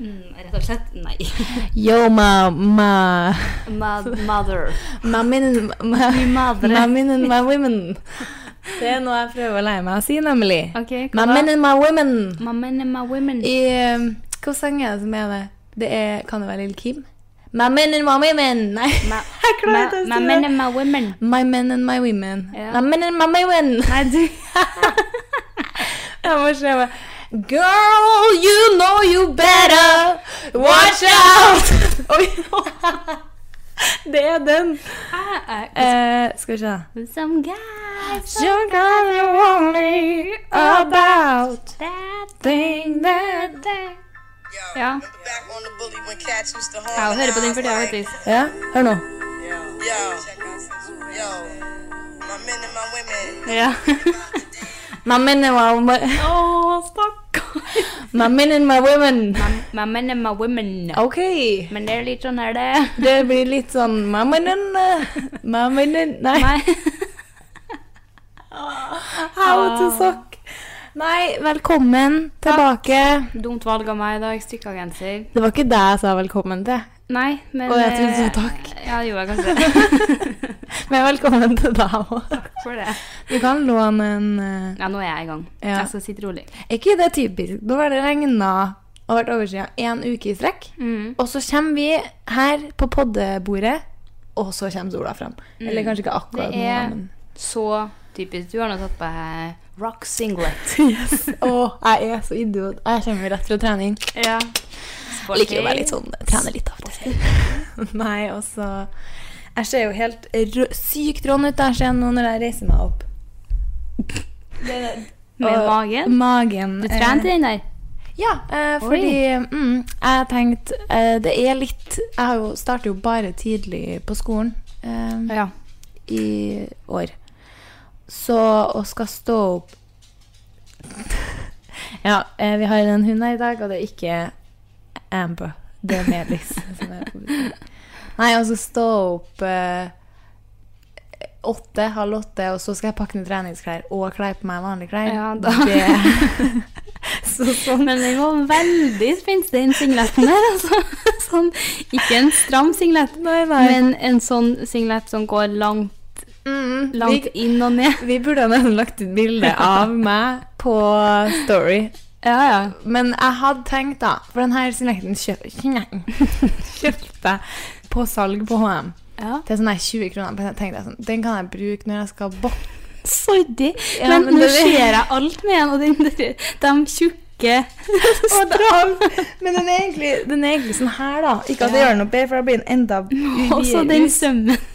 Mm, rett og slett nei. Yo, ma, ma, Ma mother. ma, min, ma, Mi madre. ma, min and my women. Det er noe jeg prøver å lære meg å si, nemlig. Ok, hva Ma, da? min and my women. My men and my women. I eh, Hvilken sang er det som er det? Det er, Kan det være Lill Kim? My men and my women. Nei, Ma- jeg klarer ikke å ma- si my men det. and my women. My men and my women. Ja. My men and my women. Nei, du Jeg må se meg. Girl, you know you better. Watch out! Oi. Det er den. I- I- Eh, skal vi se. Some guys You're gonna worry about that thing that Ja. Ja, Ja, og høre på den for det, faktisk. Ja, hør nå. Ja. My men and my, my, Å, stakkar. my, men and my women. My men and my women. OK. Men det er litt sånn her, det. Det blir litt sånn My men and eh, My men and Nei. Nei. Ah. How to suck. Nei, velkommen tilbake. Dumt valg av meg i dag. Strikka genser. Det var ikke deg jeg sa velkommen til, Nei, men og jeg trodde eh, så takk. Ja, det gjorde jeg kanskje. Men velkommen til deg òg. For det. Du kan låne en eh, Ja, nå er jeg i gang. Ja. Jeg skal sitte rolig. Er ikke det typisk? Nå har det regna og vært oversida én uke i strekk. Mm. Og så kommer vi her på poddebordet, og så kommer sola fram. Eller kanskje ikke akkurat Mm. Det nå, er- men Så typisk. Du har nå tatt på deg rock singlet. yes. Å, jeg er så idiot. Jeg kommer jo rett fra trening. Ja. Jeg liker jo å være litt sånn Trene litt oftere. Nei, og så Jeg ser jo helt rø sykt rån ut der ser jeg nå når jeg reiser meg opp. Med Og magen. Magen. eh, Du trente den der. Ja, eh, fordi mm, jeg tenkte eh, Det er litt Jeg har jo, starter jo bare tidlig på skolen eh, Ja. i år. Så og skal stå opp Ja, eh, vi har en hund her i dag, og det er ikke Amber. Det er Melis. som er på besøk. Nei, og så stå opp eh, åtte, halv åtte, og så skal jeg pakke ned treningsklær og klær på meg vanlige klær. Ja, da. Det, så sånn Men den var veldig spenstig, den singleten der. Altså. Sånn, ikke en stram singlet, Nei, nei. men en sånn singlet som går langt, Mm, langt vi, inn og ned. vi burde ha nesten lagt ut bilde av meg på Story. Ja, ja. Men jeg hadde tenkt, da For denne signekten kjøp, kjøpte jeg på salg på HM ja. til sånn her 20 kroner. Men jeg tenkte sånn, Den kan jeg bruke når jeg skal bokke. Sorry, Ja, men, men nå det- ser jeg alt med den, og den der, de tjukke Men den er, egentlig, den er egentlig sånn her, da. Ikke at det Ja. gjør noe bedre, for da blir den enda Og så den sømmen.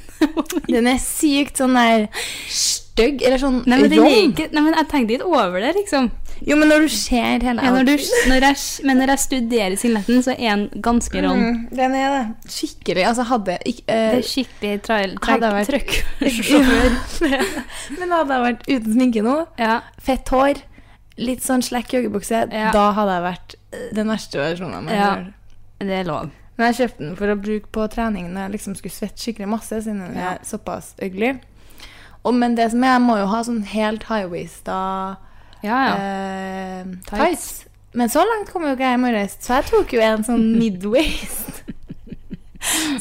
Den er sykt sånn der stygg. Eller sånn Nei, men, den er rond. ikke, nei, men jeg tenkte ikke over det, liksom. Jo, men når du ser hele Ja, når du, når jeg, men når jeg studerer singleten, så er den ganske rond. mm, Den er det. Skikkelig. Altså, hadde ikke, eh, Det er skikkelig trail, Hadde trail, jeg vært- trøkk. Ja. Men hadde jeg vært uten sminke nå, Ja, fett hår, litt sånn slekk joggebukse, Ja. da hadde jeg vært eh, den verste versjonen av meg Ja. selv. det er lov. Men jeg kjøpte den for å bruke på trening når jeg liksom skulle svette skikkelig masse, siden den Ja. er såpass ugly. Og, men det som er, jeg må jo ha sånn helt high-waista Ja, ja. eh, tights. Tights. Men så langt kom jo ikke jeg i morges, så jeg tok jo en sånn mid-waist.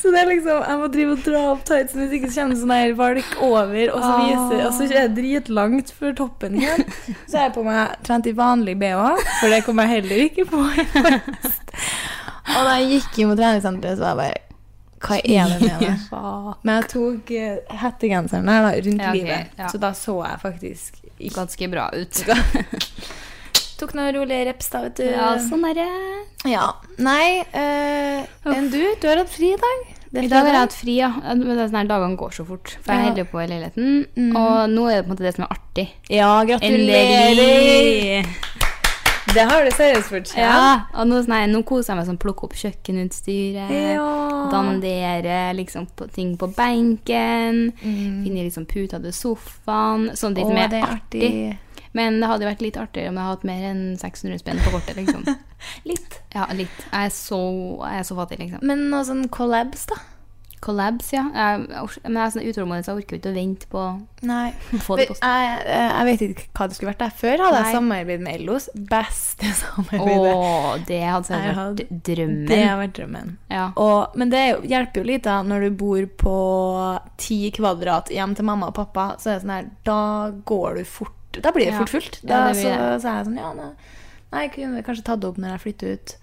Så det er liksom, Jeg må drive og dra opp tightsen hvis ikke så kommer det sånn her valk over, og så, Ah. viser, og så er det dritlangt før toppen igjen. Så har jeg på meg trent i vanlig BH, for det kom jeg heller ikke på. i morges. Og da jeg gikk inn på treningssenteret, så var jeg bare Hva er det med det? Ja, Men jeg tok eh, hettegenseren her da, rundt Ja, ok, livet, ja. så da så jeg faktisk ikke Eh, Ganske bra ut. Tok noen rolige reps, da, vet du. Ja, sånn er det. Ja. Nei, eh, enn du? Du har hatt fri i dag? Det er I dag har jeg fredag. hatt fri, ja. Men det er sånn her, Dagene går så fort. For jeg Ja. holder jo på i leiligheten. Og nå er det på en måte det som er artig. Ja, gratulerer! Endelig! Det har du seriøst fortjent. Ja. Og nå, sånn her, nå koser jeg meg sånn. Plukke opp kjøkkenutstyret. Ja. Dandere liksom, på, ting på benken. Finne liksom puta til sofaen. sånn Sånne ting Mm. Å, som er, det er artig. Men det hadde jo vært litt artigere om jeg hadde hatt mer enn 600 spenn på kortet. liksom. Litt. Ja, litt. Jeg er så, jeg er så fattig, liksom. Men noe sånn collabs, da? Collabs, ja. Jeg, ors- men jeg er sånn utålmodig, så jeg orker jo ikke å vente på å Nei. få det på Jeg, eh, posten. jeg vet ikke hva det skulle vært der. Før hadde jeg Nei. samarbeid med Ellos. Beste samarbeidet. Å, det hadde Jeg sikkert hadde- vært drømmen. Det har vært drømmen. Ja. Og, men det er jo- hjelper jo litt da når du bor på ti kvadrat hjem til mamma og pappa. Så er det sånn her, da går du fort Da blir det Ja. fort fullt. Da, Ja, det så, blir så er jeg sånn Ja, nei, nei, kunne vi kanskje tatt det opp når jeg flytter ut.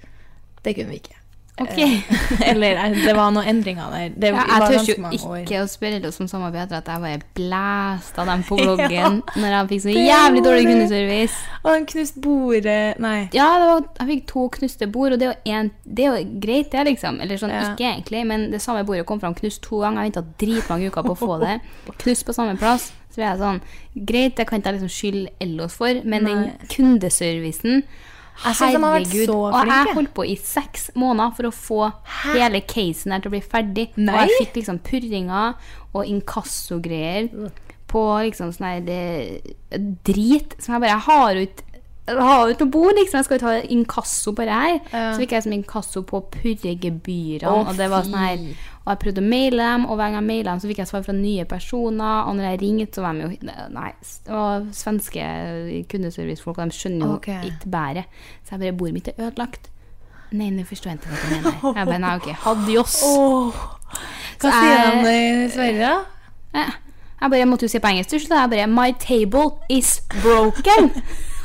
Det kunne vi ikke. Ok. Eh, Eller nei, det var noen endringer der. Det Ja, var jeg tør ganske jo mange år. ikke å spørre deg som samarbeider at jeg bare blæsta dem på bloggen Ja, når jeg fikk så det jævlig dårlig gjorde du. kundeservice. Og han knuste bordet Nei. Ja, det var, jeg fikk to knuste bord, og det er jo, en, det er jo greit, det, liksom. Eller sånn, Ja. ikke egentlig, men det samme bordet kom fram knust to ganger. Jeg venta dritmange uker på å få det. Knust på samme plass. Så ble jeg sånn Greit, det kan ikke jeg liksom skylde Ellos for, men Nei. den kundeservicen Jeg synes de har vært så Og flinke. jeg holdt på i seks måneder for å få Hæ? hele casen her til å bli ferdig. Nei. Og jeg fikk liksom purringer og inkassogreier på liksom sånn her det, drit som jeg bare Jeg har jo ikke jeg har jo ikke noe bord, liksom. Jeg skal jo ta inkasso på det her. Ja. Så fikk jeg som inkasso på purregebyrene. Å, Og det var sånn her fy. Og jeg prøvde å maile dem, og hver gang jeg mailet dem, så fikk jeg svar fra nye personer. Og når jeg ringte, så var de jo Nei. Og svenske kundeservicefolk, de skjønner jo Ok. ikke bæret. Så jeg bare Bordet mitt er ødelagt. Nei, nå forstår jeg ikke hva du mener. Jeg bare Nei, OK. Adios. Åh. Hva Så sier jeg- han i Sverige, da? Eh, Jeg bare måtte jo si på engelsk til slutt. Jeg bare My table is broken!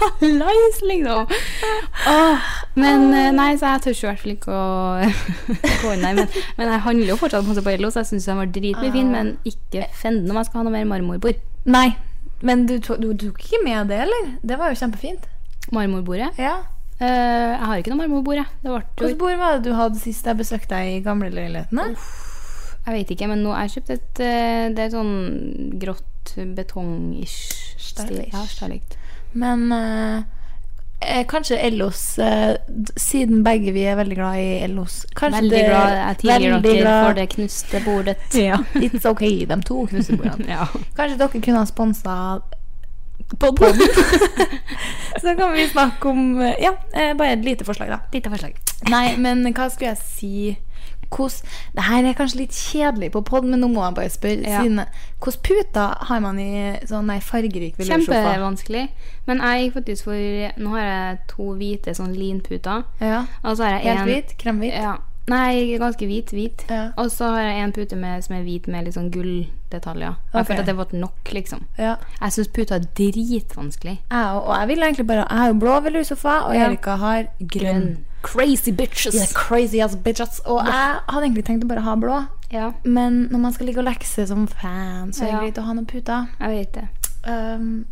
Hallais, liksom. Åh, men eh, nei, så jeg tør jo i hvert fall ikke å gå inn der. Men, men jeg handler jo fortsatt masse på Ello, så jeg syns den var dritmye fin, men Ah. ikke fenden om jeg skal ha noe mer marmorbord. Nei. Men du, to, du tok ikke med det, eller? Det var jo kjempefint. Marmorbordet? Ja. Eh, jeg har ikke noe marmorbord, jeg. Det ble Hvilket jo bord var det du hadde sist jeg besøkte deg i gamleleiligheten? Jeg vet ikke, men nå har jeg kjøpt et eh, Det er sånn grått betong-ish stil. Stylish. Ja, stylish. Men eh, eh, kanskje Ellos eh, d- Siden begge vi er veldig glad i Ellos kanskje Veldig det- glad jeg tilgir veldig dere glad- for det knuste bordet. Ja. It's ok, de to knusebordene. Ja. Kanskje dere kunne ha sponsa podden? Så kan vi snakke om eh, Ja, eh, bare et lite forslag, da. Lite forslag. Nei, men hva skulle jeg si Hvordan Det her er kanskje litt kjedelig på pod, men nå må jeg bare spørre. Ja. Siden, hvordan puter har man i sånn nei, fargerik veloursofa? Kjempevanskelig. Men jeg gikk faktisk for Nå har jeg to hvite sånn linputer. Ja. Og så har jeg Helt en hvit? Kremhvit? Ja. Nei, ganske hvit. Hvit. Ja. Og så har jeg en pute med, som er hvit med litt sånn gulldetaljer. Og Jeg Ok. følte at det ble nok, liksom. Ja. Jeg syns puter er dritvanskelig. Jeg, og, og jeg vil egentlig bare Jeg har jo blå veloursofa, og Ja. Erika har grønn. Crazy bitches! Yeah, crazy ass bitches. Og jeg hadde egentlig tenkt å bare ha blå, Ja, men når man skal ligge og lekse som fan, så er det Ja. greit å ha noen puter. jeg vet det. Um,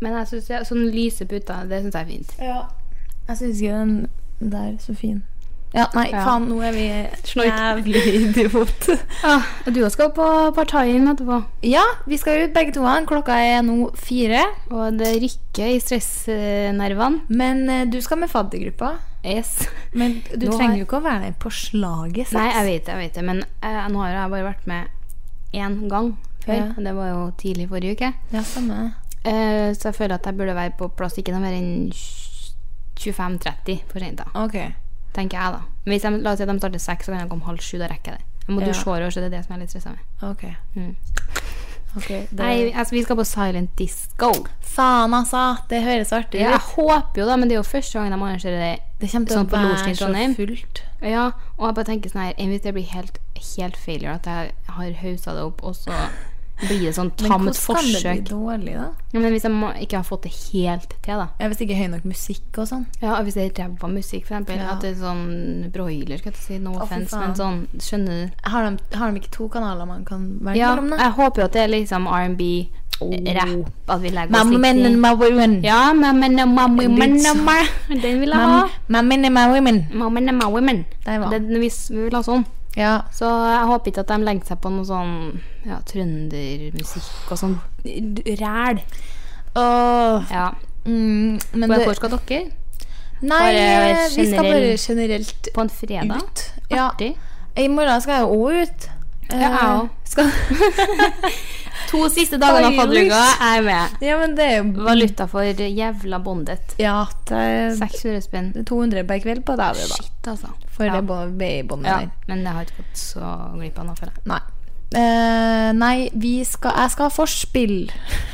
Men jeg synes, ja, sånne lyse puter, det syns jeg er fint. Ja. Jeg syns ikke den der så fin. Ja, nei, Ja. faen, nå er vi Snork. jævlig idiot. Ah, og du skal på partaien etterpå. Ja, vi skal ut begge to. Klokka er nå fire. Og det rykker i stressnervene. Men eh, du skal med faddergruppa. Yes. Men du Nå trenger har- jo ikke å være der på slaget. Nei, jeg vet det, jeg vet det. Men eh, nå har jeg bare vært med én gang før. Ja. og Det var jo tidlig forrige uke. Ja, samme. Eh, så jeg føler at jeg burde være på plass ikke noe mer enn 25-30 for sent, da. Ok. Tenker jeg, da. Men hvis de, la oss si at de starter seks, så kan jeg komme halv sju. Da rekker jeg det. Jeg må Ja. dusje håret, så det er det som jeg er litt stressa med. Ok. Mm. Ok, det- Nei, altså, vi skal på Silent Disco. Faen, altså. Det høres artig Jeg ut. håper jo, da, men det er jo første gang de arrangerer det. Det kommer til Sånn på å Lorsken være i så Trondheim. fullt. Ja, og jeg bare tenker sånn her Enn hvis det blir helt, helt failure, at jeg har hausa det opp, og så blir det sånn Men hvordan tamt kan det forsøk. bli dårlig, da? Ja, men hvis jeg må, ikke har fått det helt til, da. Ja, Hvis ikke høy nok musikk og sånn. Ja, og Hvis det er ræva musikk, for eksempel. Ja. At det er sånn broiler, skal jeg ikke si. No fy offense, faen. men sånn Skjønner du? Har de, har de ikke to kanaler man kan velge Ja, mellom? da? jeg håper jo at det er liksom R&B, rapp, at vi legger oss My men litt and i my women. Ja, my men and my women, Litt sånn. my- den vil jeg ha. My, my men and my women. My men and my women. Der var Den hvis vi vil ha sånn. Ja. Så jeg håper ikke at de legger seg på noe sånn ja, trøndermusikk og sånn ræl. Ja. mm, men Men det, hvor skal dere? nei, eh, bare vi skal bare generell- generelt På en fredag? ut. Ja, Artig. I morgen skal jeg jo òg ut. Eh, jeg òg. skal- To siste dagene av fadderuka jeg er med. Ja, men det er jo Valuta for jævla bondet. Ja, det er 600 spenn. 200 per kveld på deg. det da. Shit, godt, altså. For ja. det bå- babyen Ja, der. men det har ikke gått så glipp av nå, føler jeg. Nei. Eh, nei, vi skal, jeg skal ha forspill.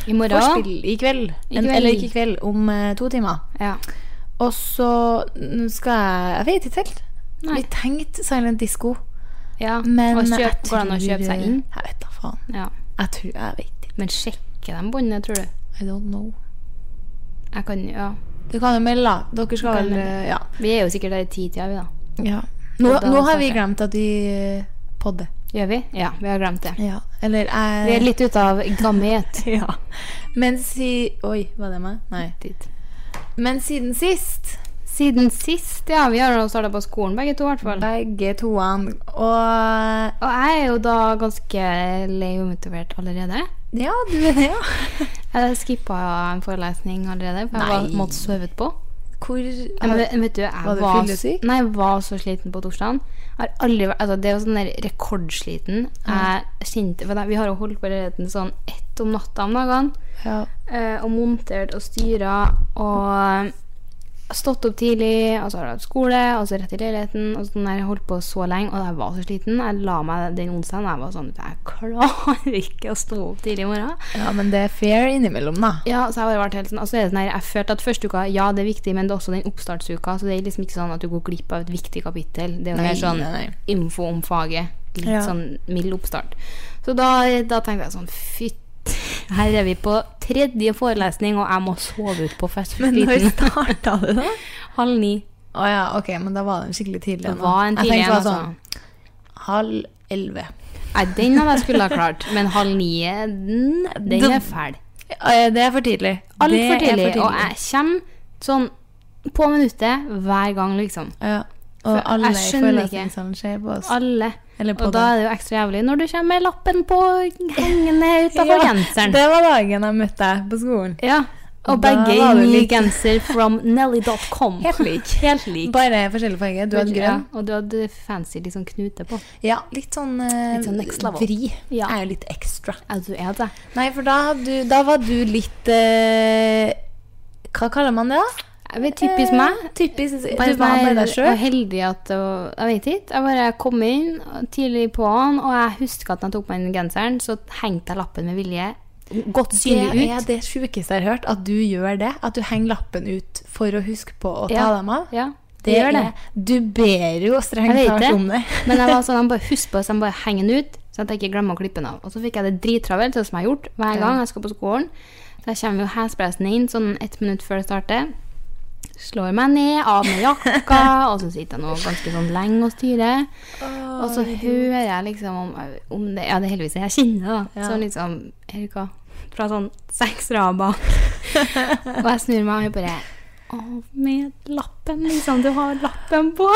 I morgen Forspill i kveld. I En, kveld. Eller ikke i kveld, om eh, to timer. ja. Og så n- skal jeg Jeg vet ikke helt. Nei. Vi tenkte silent disco, ja. men og kjøp, jeg Går det an å kjøpe seg inn? Jeg vet da faen. Ja. Jeg tror Jeg vet ikke. Men sjekker de båndene, tror du? I don't know. Jeg kan, ja. Du kan jo melde, da. Du Dere skal kan vel melde. eh, Ja. Vi er jo sikkert der i titida, vi, da. ja. Nå, Og da nå har starter vi jeg. glemt at vi eh, podder. Gjør vi? Ja, vi har glemt det. Ja. Eller jeg Vi er litt ute av gamhet. Ja. Men si Oi, var det meg? Nei. Dit. Men siden sist, Siden sist, ja. Vi har jo starta på skolen begge to, i hvert fall. begge toene, og Og jeg er jo da ganske lei og motivert allerede. Ja, du er det, ja. Jeg skippa en forelesning allerede, for jeg var, Nei. måtte sove på. Hvor Ja, Men, vet- vet du, jeg Var var, du fyllesyk? Nei, jeg var så sliten på torsdagen. Jeg Har aldri vært, altså, det er jo sånn der rekordsliten. Jeg kjente, for det- vi har jo holdt på leiligheten sånn ett om natta om dagene. ja. eh, Og montert og styra og eh, stått opp tidlig, og så har jeg hatt skole, og så rett i leiligheten. Og sånn der, jeg holdt på så lenge, og jeg var så sliten. Jeg la meg den onsdagen, og jeg var sånn Jeg klarer ikke å stå opp tidlig i morgen. ja, men det er fair innimellom, da. Ja, så jeg har bare vært helt sånn, altså, det er sånn her, jeg følte at første uka, ja, det er viktig, men det er også den oppstartsuka, så det er liksom ikke sånn at du går glipp av et viktig kapittel. Det er jo Nei, mer sånn nei, nei. info om faget, litt Ja. sånn mild oppstart. Så da, da tenkte jeg sånn, fytt, her er vi på tredje forelesning, og jeg må sove ut på fest Men når starta det, da? halv ni. Å ja, ok, men da var det en skikkelig tidlig Det en, da. var en tidlig Jeg en, tenkte bare altså. sånn halv elleve. Nei, den hadde jeg skulle ha klart, men halv ni, den, den er fæl. Eh, Det er for tidlig. Alt Det for er tidlig, og jeg kommer sånn på minuttet hver gang, liksom. Ja. Og For alle jeg i skjønner ikke. forelesningssalen ser på oss. Alle. Eller på Og da er det jo ekstra jævlig når du kommer med lappen på hengende utafor genseren. Det var dagen jeg møtte deg på skolen. Ja. Og Da begge var i du ny litt- genser from nelly.com. Helt lik. Helt lik. Bare forskjellig farge. Du hadde grønn. Ja, og du hadde fancy liksom knute på. Ja, litt sånn, eh, Litt sånn next level. vri. Ja. Er jo litt ekstra. Ja, du er altså, det. Nei, for da, hadde du, da var du litt eh, Hva kaller man det, da? Jeg vet, typisk meg. Eh, typisk, du Bare var bare deg Og sjøl. heldig at det var- Jeg vet ikke. Jeg bare kom inn tidlig på han, og jeg husker at når jeg tok på meg den genseren, så hengte jeg lappen med vilje godt synlig ut. Det er det sjukeste jeg har hørt, at du gjør det. At du henger lappen ut for å huske på å ta Ja. dem av. Ja, det, gjør det. er- Du ber jo strengt Jeg vet talt det. om det. Men jeg var sånn, han bare husk på det, så han bare henger den ut, så at jeg ikke glemmer å klippe den av. Og så fikk jeg det drittravelt, sånn som jeg har gjort hver gang jeg skal på skolen. Så jeg kommer jo hesbreisen inn sånn ett minutt før det starter. Slår meg ned, av med jakka, og så sitter jeg nå ganske sånn lenge og styrer. Og så hører jeg liksom om, om det Ja, det er heldigvis jeg kjenner, da. Ja. Sånn liksom Erika, fra sånn seks rader bak. og jeg snur meg og jeg bare Av med lappen, liksom. Du har lappen på.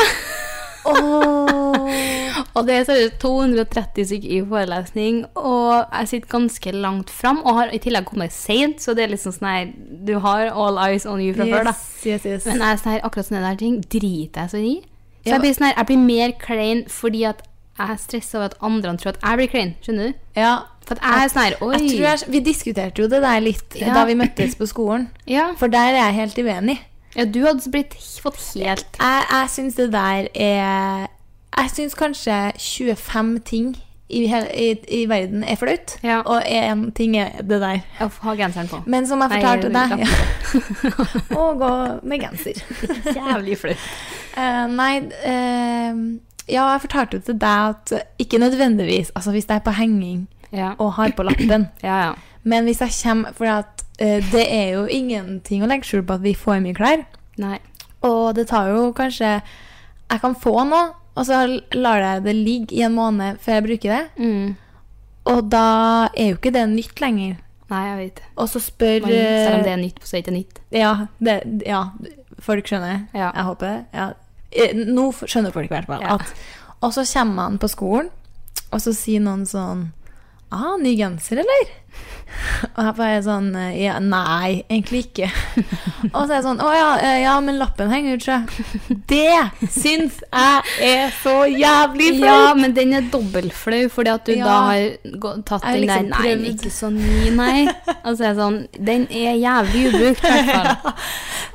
Åh. Og det er seriøst 230 stykker i forelesning, og jeg sitter ganske langt fram, og har i tillegg kommet sent, så det er liksom sånn her Du har all eyes on you fra før, da. Yes, yes, yes. Men jeg er sånn her, akkurat sånne der ting driter jeg så i. Så Ja. jeg blir sånn her, jeg blir mer klein fordi at jeg stresser over at andre tror at jeg blir klein. Skjønner du? ja. For at jeg er sånn her Oi. Jeg tror jeg, vi diskuterte jo det der litt Ja. da vi møttes på skolen, ja. for der er jeg helt uenig. ja, du hadde blitt fått helt Jeg, jeg syns det der er Jeg syns kanskje 25 ting i, hel- i, i verden er flaut, Ja. og én ting er det der. å ha genseren på. Men som jeg Nei, fortalte deg ja. lappen på. Å gå med genser. Jævlig flaut. Eh, nei eh, Ja, jeg fortalte jo til deg at ikke nødvendigvis Altså hvis jeg er på henging Ja. og har på lappen, ja, ja. men hvis jeg kommer For at, eh, det er jo ingenting å legge skjul på at vi får mye klær. Nei. Og det tar jo kanskje Jeg kan få noe, og så lar jeg det ligge i en måned før jeg bruker det. Mm. Og da er jo ikke det nytt lenger. Nei, jeg vet det. Og så spør Man- Selv om det eh, er nytt, så er det ikke nytt. ja, det, ja, folk skjønner. Ja. Jeg håper det. Ja. Eh, Nå f- skjønner folk i hvert fall Ja. at Og så kommer man på skolen, og så sier noen sånn Ah, ny genser, eller? Og jeg bare sånn eh, ja, Nei, egentlig ikke. Og så er jeg sånn Å ja, eh, ja men lappen henger ut, sjø. Det syns jeg er så jævlig Ja, flaut! men den er dobbeltflau, fordi at du Ja. da har gå- tatt Jeg har den der liksom Nei, prøvd." ikke så ny, nei. Altså, jeg er sånn Den er jævlig ubrukt, i hvert fall.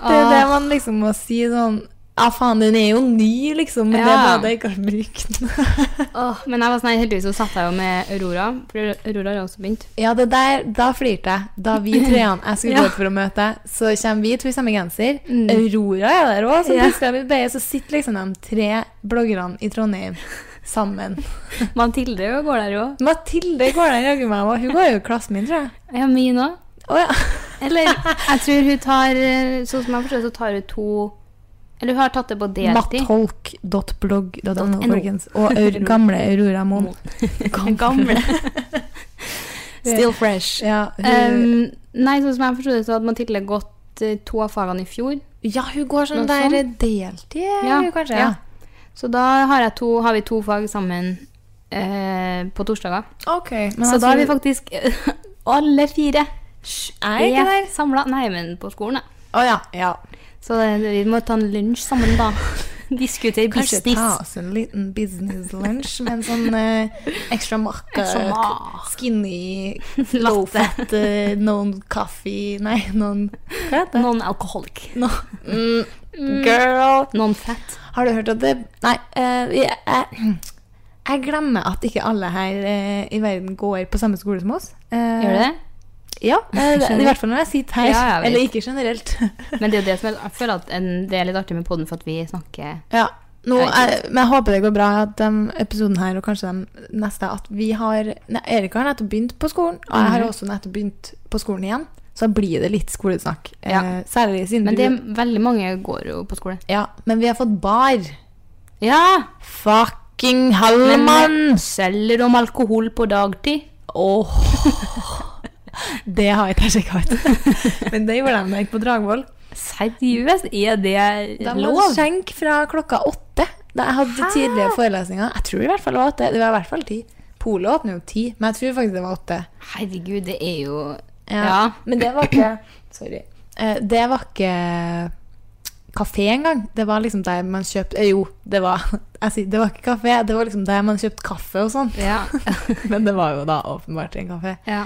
Det er det man liksom må si sånn Ja, faen, den er jo ny, liksom, men det Ja. er bare at jeg ikke har brukt den. Åh, men jeg var sånn, her, heldigvis så satt jeg jo med Aurora, for Aurora har også begynt. Ja, det der, da flirte jeg. Da vi treene jeg skulle Ja. gå ut for å møte deg, så kommer vi to i samme genser. Mm. Aurora er der òg, som Ja. pisker av i beie. Så sitter liksom de tre bloggerne i Trondheim sammen. Mathilde jo går der jo. Mathilde går der jaggu meg òg. Hun går jo i klassen min, tror jeg. Ja, min også. Å ja. Eller, jeg tror hun tar, eh, sånn som jeg forstår, så tar hun to, eller hun har tatt det på deltid. Mattolk.blogg.no, .no. folkens. Og aur gamle Aurora Moen. Gamle. Still fresh. Ja, hun, Um, nei, sånn som jeg forstår det, så hadde Mathilde gått eh, to av fagene i fjor. ja, hun går sånn noe der sånn. deltid, Ja, Eh, kanskje? ja. Så da har, jeg to, har vi to fag sammen eh, på torsdager. Ok. Men Så da er vi faktisk alle fire Er jeg ikke der? samla. Nei, men på skolen, ja. Å ja. ja. Så det, vi må ta en lunsj sammen, da. Diskutere Kanskje ta business. oss en liten business lunch med en sånn eh, ekstra makka, Ekstra mak. skinny, Latte. low fat, eh, noen kaffe Nei, noen Hva heter det? Non-alcoholic. No. Mm, girl! Non-fat. Har du hørt at det Nei, eh, jeg, jeg, jeg glemmer at ikke alle her eh, i verden går på samme skole som oss. Eh, Gjør du det? Ja. eh, Skjønner. I hvert fall når jeg sitter her. Ja, jeg vet. Eller ikke generelt. Men det er jo det som jeg, jeg føler at en- det er litt artig med podden for at vi snakker Ja. Nå, Jeg vet jeg, men jeg håper det går bra at den episoden her og kanskje den neste at vi har nei, Erik har nettopp begynt på skolen, og jeg har Mhm. også nettopp begynt på skolen igjen. Så da blir det litt skolesnakk. Ja. Eh, særlig siden Men det du er veldig mange går jo på skole. Ja, men vi har fått bar. Ja! Fucking Men Hallemann! selger om alkohol på dagtid. Åh! det har jeg ikke sjekka ut. men det gjorde de da jeg gikk på Dragvoll. Seriøst, er det De hadde lov? skjenk fra klokka åtte. Da jeg hadde tidlige forelesninger. Jeg tror i hvert fall det var åtte. Det var i hvert fall ti. Polet åpner jo ti, men jeg tror faktisk det var åtte. Herregud, det er jo Ja. Ja. Men det var ikke Sorry. Eh, Det var ikke kafé engang. Det var liksom der man kjøpte eh, Jo, det var jeg sier, Det var ikke kafé, det var liksom der man kjøpte kaffe og sånn. Ja. Men det var jo da åpenbart en kafé. ja.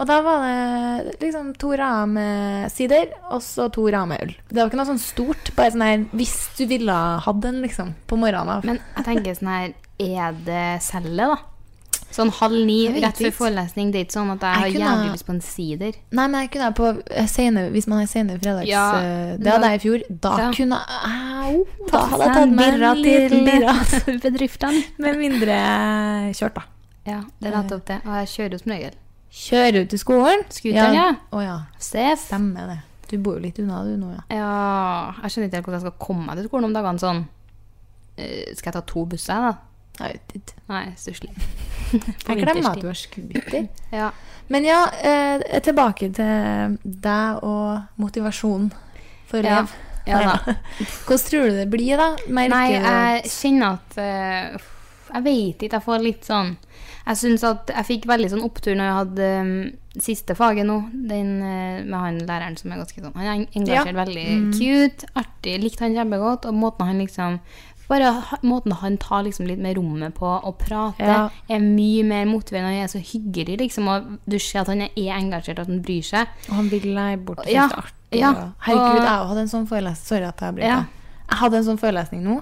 Og da var det liksom to rader med sider, og så to rader med øl. Det var ikke noe sånn stort, bare sånn her hvis du ville ha den, liksom, på morgenen. av. Men jeg tenker sånn her Er det celle, da? Sånn halv ni Jeg vet rett før ikke. forelesning. Det er ikke sånn at jeg har Jeg kunne- jævlig lyst på en sider. Nei, men jeg kunne på eh, sene, hvis man har sene fredags... Ja, eh, det da- hadde jeg i fjor. Da Ja. kunne jeg... Au, da hadde jeg tatt meg en liten birra. bedriftene. Med mindre kjørt, da. Ja, det er nettopp det. Og jeg kjører jo som regel. Kjøre ut til skolen? Scooteren, ja. Å ja. Steff. Stemmer det. Du bor jo litt unna, du nå, ja. Ja, jeg skjønner ikke helt hvordan jeg skal komme meg til skolen om dagene sånn. Eh, skal jeg ta to busser, da? Jeg vet ikke. Nei, stusslig. På Jeg glemmer vinterstid. at du har scooter. Ja. Men ja, eh, tilbake til deg og motivasjonen for Ja. elev. ja da. Hvordan tror du det blir, da? Merker Nei, du at- jeg kjenner at eh, uff, Jeg vet ikke, jeg får litt sånn Jeg synes at jeg fikk veldig sånn opptur når jeg hadde eh, siste faget nå. Den eh, med han læreren som er ganske sånn Han er eng- engasjert, veldig cute, artig. Likte han kjempegodt. Og måten han liksom bare ha- måten han tar liksom litt mer rommet på og prater, Ja. er mye mer motiverende. Han er så hyggelig, liksom. Og du ser at han er engasjert, at han bryr seg. Og han vil deg bort og Ja, synes det er artig. ja. og- Herregud, Og- jeg hadde en sånn forelesning. Sorry at jeg ble Ja. det. Jeg hadde en sånn forelesning nå.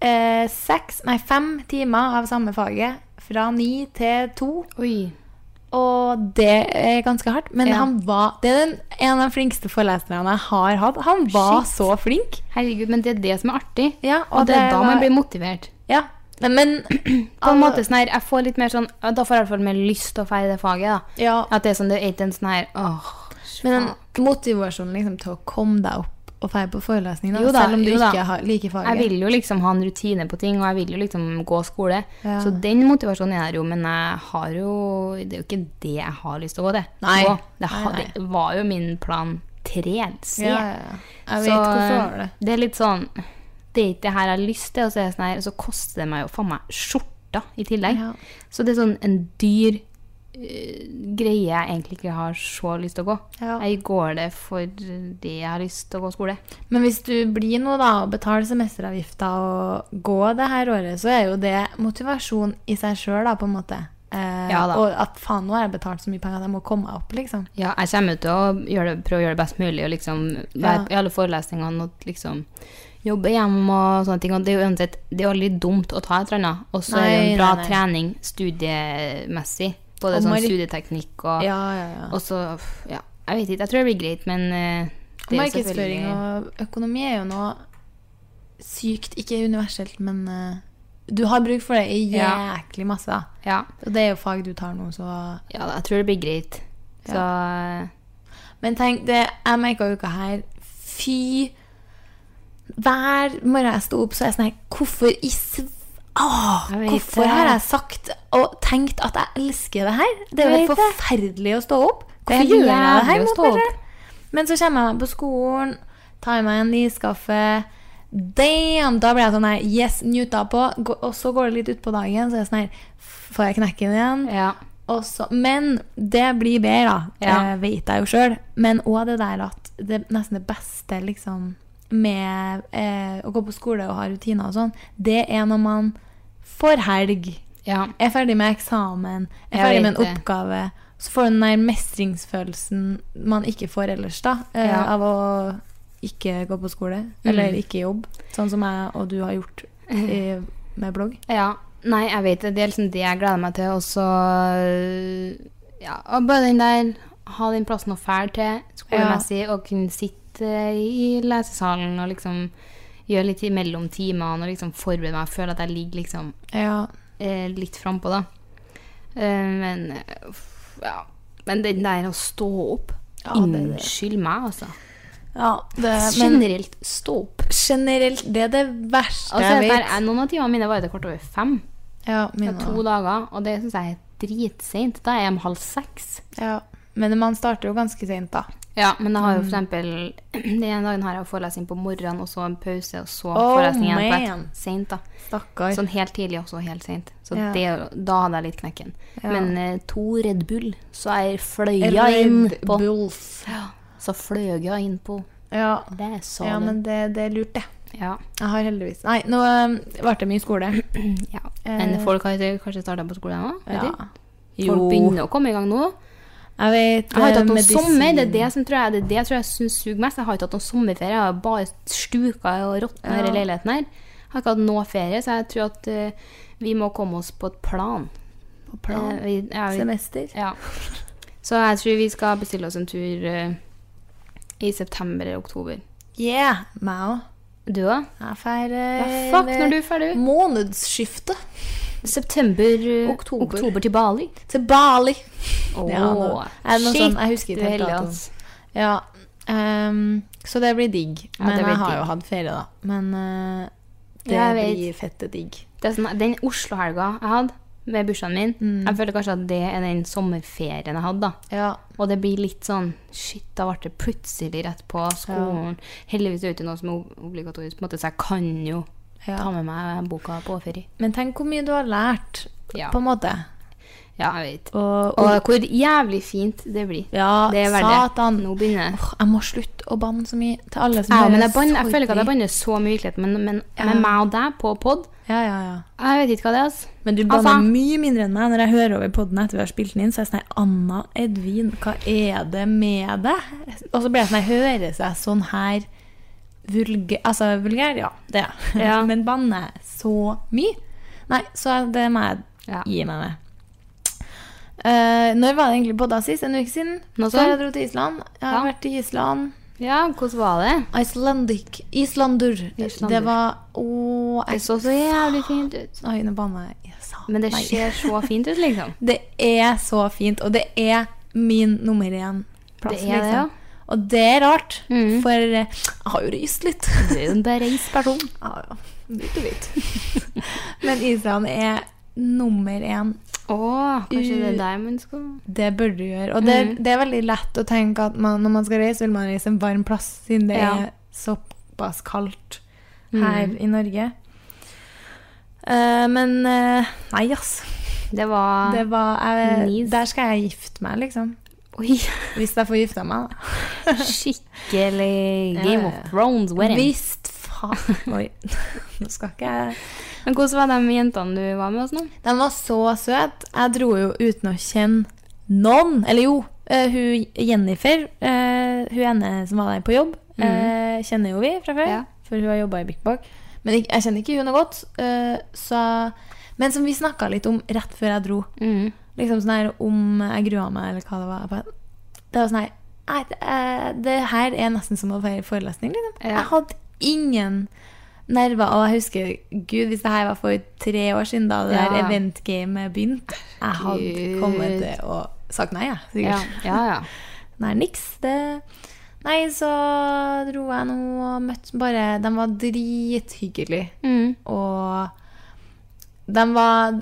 Eh, seks, nei, fem timer av samme faget. Fra ni til to. Oi. Og det er ganske hardt. Men Ja. han var, det er den, en av de flinkeste foreleserne jeg har hatt. Han var så flink. Herregud, men det er det som er artig. Ja, Og, det er da var- man blir motivert. Ja. Nei, Men På en måte sånn her, jeg får litt mer sånn ja, Da får jeg i hvert fall mer lyst til å feire det faget. da Ja, At det er sånn, det er ikke en sånn her åh, Men den motivasjonen liksom, til å komme deg opp og feire på forelesning, da, Jo da, selv om du jo da. ikke har like faen. Jeg faget vil jo liksom ha en rutine på ting, og jeg vil jo liksom gå skole. Ja. Så den motivasjonen er der jo, men jeg har jo Det er jo ikke det jeg har lyst til å gå til. Nei. Gå. Det, ha- Nei, nei. det var jo min plan tre. C. Ja, ja, ja. Jeg vet Så, hvorfor du har det. Det er litt sånn Det er ikke det her jeg har lyst til, og så, er jeg sånn her, og så koster det meg jo faen meg skjorta i tillegg. Ja. Så det er sånn en dyr eh, greie jeg egentlig ikke har så lyst til å gå. Ja. Jeg går det fordi jeg har lyst til å gå skole. Men hvis du blir nå da og betaler semesteravgifta og går det her året, så er jo det motivasjon i seg sjøl, da, på en måte. Eh, Ja da. Og at faen, nå har jeg betalt så mye penger at jeg må komme meg opp, liksom. Ja, jeg kommer til å gjøre det, prøve å gjøre det best mulig og liksom være Ja. i alle forelesningene og liksom jobbe hjemme og sånne ting. Og det er jo uansett det er jo aldri dumt å ta et eller annet. Og så er det Nei, en bra nei, nei. trening studiemessig. Både Og sånn Mari- studieteknikk og Ja, ja, ja. Og så f- Ja, jeg vet ikke. Jeg tror det blir greit, men eh, det er jo Markedsføring selvfølgelig- og økonomi er jo noe sykt Ikke universelt, men eh, du har bruk for det i Ja. jæklig masse. da. ja. Og det er jo fag du tar nå, så ja, jeg tror det blir greit. Så Men tenk, det jeg merka uka her Fy Hver morgen jeg sto opp, så er jeg sånn her Hvorfor i sv... Åh, Jeg vet hvorfor det. har jeg sagt og tenkt at jeg elsker det her? Det er jo Jeg helt vet det. forferdelig å stå opp. Det er Hvorfor gjør jeg det jævlig her å mot stå meg opp. selv? Men så kommer jeg meg på skolen, tar meg en iskaffe. Damn! Da blir jeg sånn her Yes, njuta på. Gå- Og så går det litt utpå dagen, så er jeg sånn her Får jeg knekken igjen? ja. Og så- men det blir bedre, da. Ja. Det vet jeg jo sjøl. Men òg det der at det nesten det beste liksom, med eh, å gå på skole og ha rutiner og sånn, det er når man får helg, ja. er ferdig med eksamen, er Jeg vet ferdig med en det. oppgave. Så får du den der mestringsfølelsen man ikke får ellers, da. Eh, Ja. Mm. Av å ikke gå på skole, eller ikke jobbe. Sånn som jeg og du har gjort i, med blogg. Ja. Nei, jeg vet det. Det er liksom det jeg gleder meg til. Og så eh, Ja, og bare den der Ha den plassen å fære til skolemessig, og kunne sitte eh, i lesesalen og liksom gjøre litt mellom timene og liksom forberede meg. Føle at jeg ligger liksom Ja. eh, litt frampå, da. Eh, men eh, uff, ja. Men den der å stå opp Ja, det er det. Unnskyld meg, altså. ja det, men Generelt stå opp. Generelt, det er det verste Altså, jeg dette vet. er- noen av timene mine var det kort over fem. Ja, Det mine er to også. dager, og det syns jeg er dritseint. Da er jeg om halv seks. ja. Men man starter jo ganske sent, da. Ja, men jeg har Mm. jo for eksempel Den ene dagen har jeg forelesning på morgenen, og så en pause, og så Oh, forelesning igjen på man. ett. Seint, da. Stakkar. Sånn helt tidlig og så helt seint. Så Ja. det, da hadde jeg litt knekken. Ja. Men eh, to Red Bull, så jeg fløy jeg inn Red på Bulls. Så fløy jeg inn på Ja. det, sa ja, du. men det, det er lurt, det. ja. Jeg har heldigvis Nei, nå øhm, ble det mye skole. ja. Men Eh, folk har ikke kanskje starta på skolen nå? vet Ja. du? Folk begynner å komme i gang nå. Jeg vet Jeg har ikke øh, hatt noen medisin. sommer. Det er det som tror jeg, det er det jeg tror jeg syns suger mest. Jeg har ikke hatt noen sommerferie. Jeg har bare stuka og råtna i Ja. denne leiligheten her. Jeg har ikke hatt noe ferie, så jeg tror at eh, vi må komme oss på et plan. På plan. Eh, vi, ja, vi, Semester. ja. Så jeg tror vi skal bestille oss en tur eh, i september eller oktober. Yeah! Meg òg. Du òg? Jeg drar Ja, Eh, fuck, når du er ferdig? Månedsskiftet. September eh, Oktober. oktober til Bali. Til Bali. Åh, Ja, nå- er det noe sånn- jeg husker ikke du er helt heldig, altså. datoen. ass. Ja, ehm, så det blir digg. Ja, Men det blir jeg har digg. jo hatt ferie, da. Men eh, det Ja, jeg blir fette digg. Det er sånn, den Oslo-helga jeg hadde med bursdagen min, Mm. jeg føler kanskje at det er den sommerferien jeg hadde. da. Ja. Og det blir litt sånn Shit, da ble det plutselig rett på skolen. Heldigvis er det ikke noe som er ob- obligatorisk, på en måte, så jeg kan jo Ja. ta med meg boka på ferie. Men tenk hvor mye du har lært, Ja. på en måte. Ja, jeg vet. Og, Og og, hvor jævlig fint det blir. ja, det er verdt det. satan. Nå begynner jeg. Åh, jeg må slutte å banne så mye til alle som Ja, men jeg, hører. banner- jeg Sorry. føler ikke at jeg banner så mye i virkeligheten, men, men med meg og deg på pod Ja, ja, ja. Jeg vet ikke hva det er. Altså. Men du banner Altså- mye mindre enn meg når jeg hører over podden etter vi har spilt den inn. Så er jeg sånn her Anna Edvin, hva er det med deg? Og så blir jeg sånn her Høres jeg sånn her vulgær Altså vulgær, ja. Det er jeg. Ja. Men banner jeg så mye? Nei, så det må jeg Ja. gi meg med. Eh, når var det egentlig podda sist? En uke siden? Noe Før jeg sånt. dro til Island. Jeg har Ja. vært i Island. ja, hvordan var det? Icelandic. Islandur. Islander. Det var Å, Det jeg så så jævlig fint ut. Oi, nå banna jeg. jeg. sa Men det nei. ser så fint ut, liksom. Det er så fint, og det er min nummer én plass. Det er det, liksom. Og det er rart, Mhm. for eh, jeg har jo ryst litt. Du er jo en bereist person. Ja, ja. Litt og litt. Men Island er nummer én. Å, kanskje det er der man skal Det bør du gjøre. Og det, Mm. det er veldig lett å tenke at man, når man skal reise, vil man reise en varm plass, siden det Ja. Mm. er såpass kaldt her i Norge. Eh, men eh, nei, ass. Det var Det var, jeg, Nice. Der skal jeg gifte meg, liksom. Oi, Hvis jeg får gifta meg, da. skikkelig Game Ja, ja, ja. of Thrones wedding. Visst faen. Oi, nå skal ikke jeg Men hvordan var de jentene du var med oss nå? De var så søte. Jeg dro jo uten å kjenne noen. Eller jo, eh, hun Jennifer, eh, hun ene som var der på jobb, eh, kjenner jo vi fra før. Mhm. Ja. for hun har jobba i Bik Bak. Men jeg, jeg kjenner ikke hun noe godt. eh, så, men som vi snakka litt om rett før jeg dro, Mm. liksom sånn her om jeg grua meg, eller hva det var. Jeg bare, det var sånn her Nei, det, eh, det her er nesten som å feire forelesning, liksom. Ja. Jeg hadde ingen nerver. Og jeg husker, gud, hvis det her var for tre år siden, da det Ja. der eventgamet begynte, jeg hadde Gud. kommet til å sagt nei, jeg. Ja, Sikkert. ja, ja. Nei, niks. Det Nei, så dro jeg nå og møtte bare De var drithyggelige. Mm. Og de var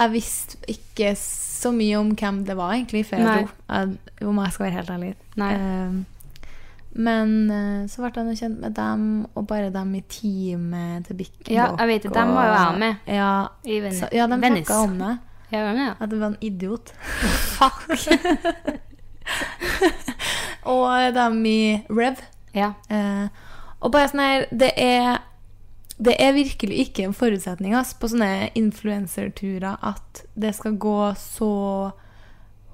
Jeg visste ikke så mye om hvem det var, egentlig, før Nei. jeg dro. Jeg- Om jeg skal være helt ærlig. Nei. Eh, Men eh, så ble jeg nå kjent med dem, og bare dem i teamet til Bik. Ja, jeg vet det. Dem var jo jeg med. Ja, I Venice. så, ja de snakka om det. Ja, hvem er det? At det var en idiot. Fuck! og dem i Rev. Ja. Eh, og bare sånn her Det er det er virkelig ikke en forutsetning ass, på sånne influenserturer at det skal gå så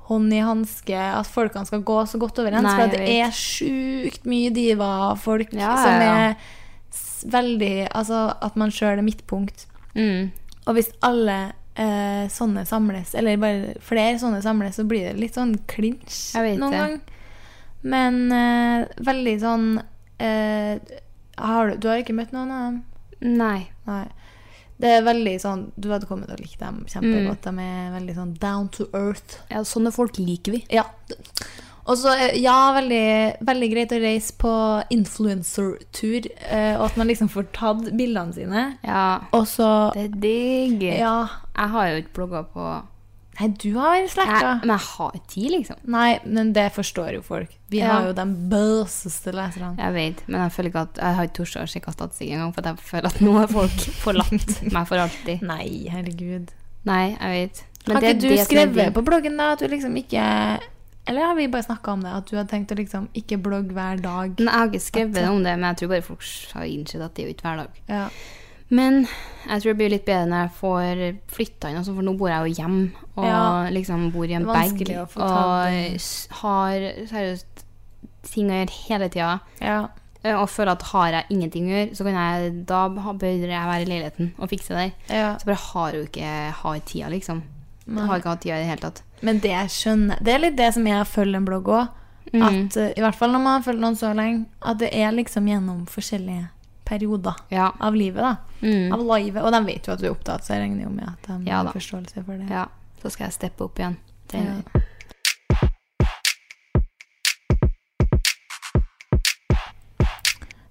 hånd i hanske, at folkene skal gå så godt overens. Nei, for at jeg det vet. er sjukt mye diva-folk Ja, ja, som ja. er s- veldig Altså at man sjøl er midtpunkt. Mm. Og hvis alle eh, sånne samles, eller bare flere sånne samles, så blir det litt sånn clinch Jeg vet noen det. gang. Men eh, veldig sånn eh, har du, du har ikke møtt noen av dem? Nei. Nei. Det er veldig sånn Du hadde kommet til å like dem kjempegodt. Mm. De er veldig sånn down to earth. Ja, sånne folk liker vi. Ja. Og så, eh, ja, veldig, veldig greit å reise på influencer-tur, eh, og at man liksom får tatt bildene sine. Ja. Og så Det er digg. Ja. Jeg har jo ikke blogga på Nei, du har jeg, slekta. Men jeg har ikke tid, liksom. Nei, men det forstår jo folk. Vi Ja. har jo de bøseste leserne. Jeg vet, men jeg føler ikke at Jeg har ikke tort å sjekke statistikk engang, for at jeg føler at nå har folk forlatt meg for alltid. Nei, herregud. Nei, jeg vet. har ikke du skrevet på på bloggen da at du liksom ikke Eller har vi bare snakka om det? At du hadde tenkt å liksom ikke blogge hver dag? Nei, jeg har ikke skrevet om det, men jeg tror bare folk har innsett at det er jo ikke hver dag. Ja. Men jeg tror det blir litt bedre når jeg får flytta inn, og sånn, for nå bor jeg jo hjemme. Og Ja. liksom bor i en Det er bag. vanskelig å få tatt Og s- har seriøst ting å gjøre hele tida. ja. Og føler at har jeg ingenting å gjøre, så kan jeg, da ha- bør jeg være i leiligheten og fikse det der. ja. Så bare har jo ikke har tida, liksom. Nei. Har ikke hatt tida i det hele tatt. Men det jeg skjønner Det er litt det som jeg følger en blogg òg. Mhm. At eh, I hvert fall når man har fulgt noen så lenge. At det er liksom gjennom forskjellige perioder Ja. av livet. da Mm. Av livet. Og de vet jo at du er opptatt, så jeg regner jo med at de Ja da. har forståelse for det. ja. Så skal jeg steppe opp igjen. Det Ja.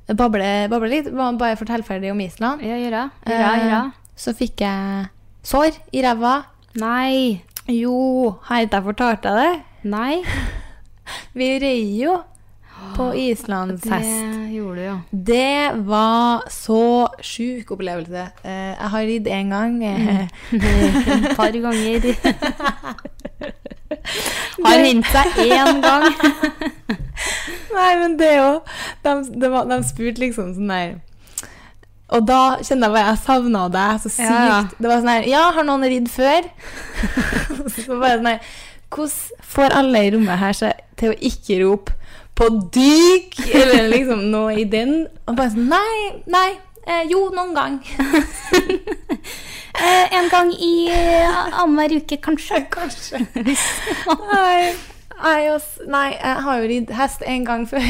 Bable, bable litt. Ba- Bare fortell ferdig om Island. Ja, gjør jeg. Gjør jeg, gjør jeg. Eh, Så fikk jeg sår i ræva. Eh. Nei. Jo, har ikke jeg fortalt deg det? Nei. Vi rei jo på islandshest. Det gjorde du, ja. Det var så sjuk opplevelse. Eh, Jeg har ridd én gang. eh, Et par ganger. Har hendt seg én gang. Nei, men det òg. De, det var- de spurte liksom sånn der Og da kjenner jeg bare jeg savna deg så sykt. Ja, ja. Det var sånn her Ja, har noen ridd før? så bare sånn her Hvordan får alle i rommet her seg til å ikke rope på dyk? Eller liksom noe i den? Og bare sånn Nei, nei. Eh, jo, noen gang. Eh, en gang i eh, annenhver uke, kanskje. Kanskje. Nei. Nei, ass. nei, jeg har jo ridd hest en gang før.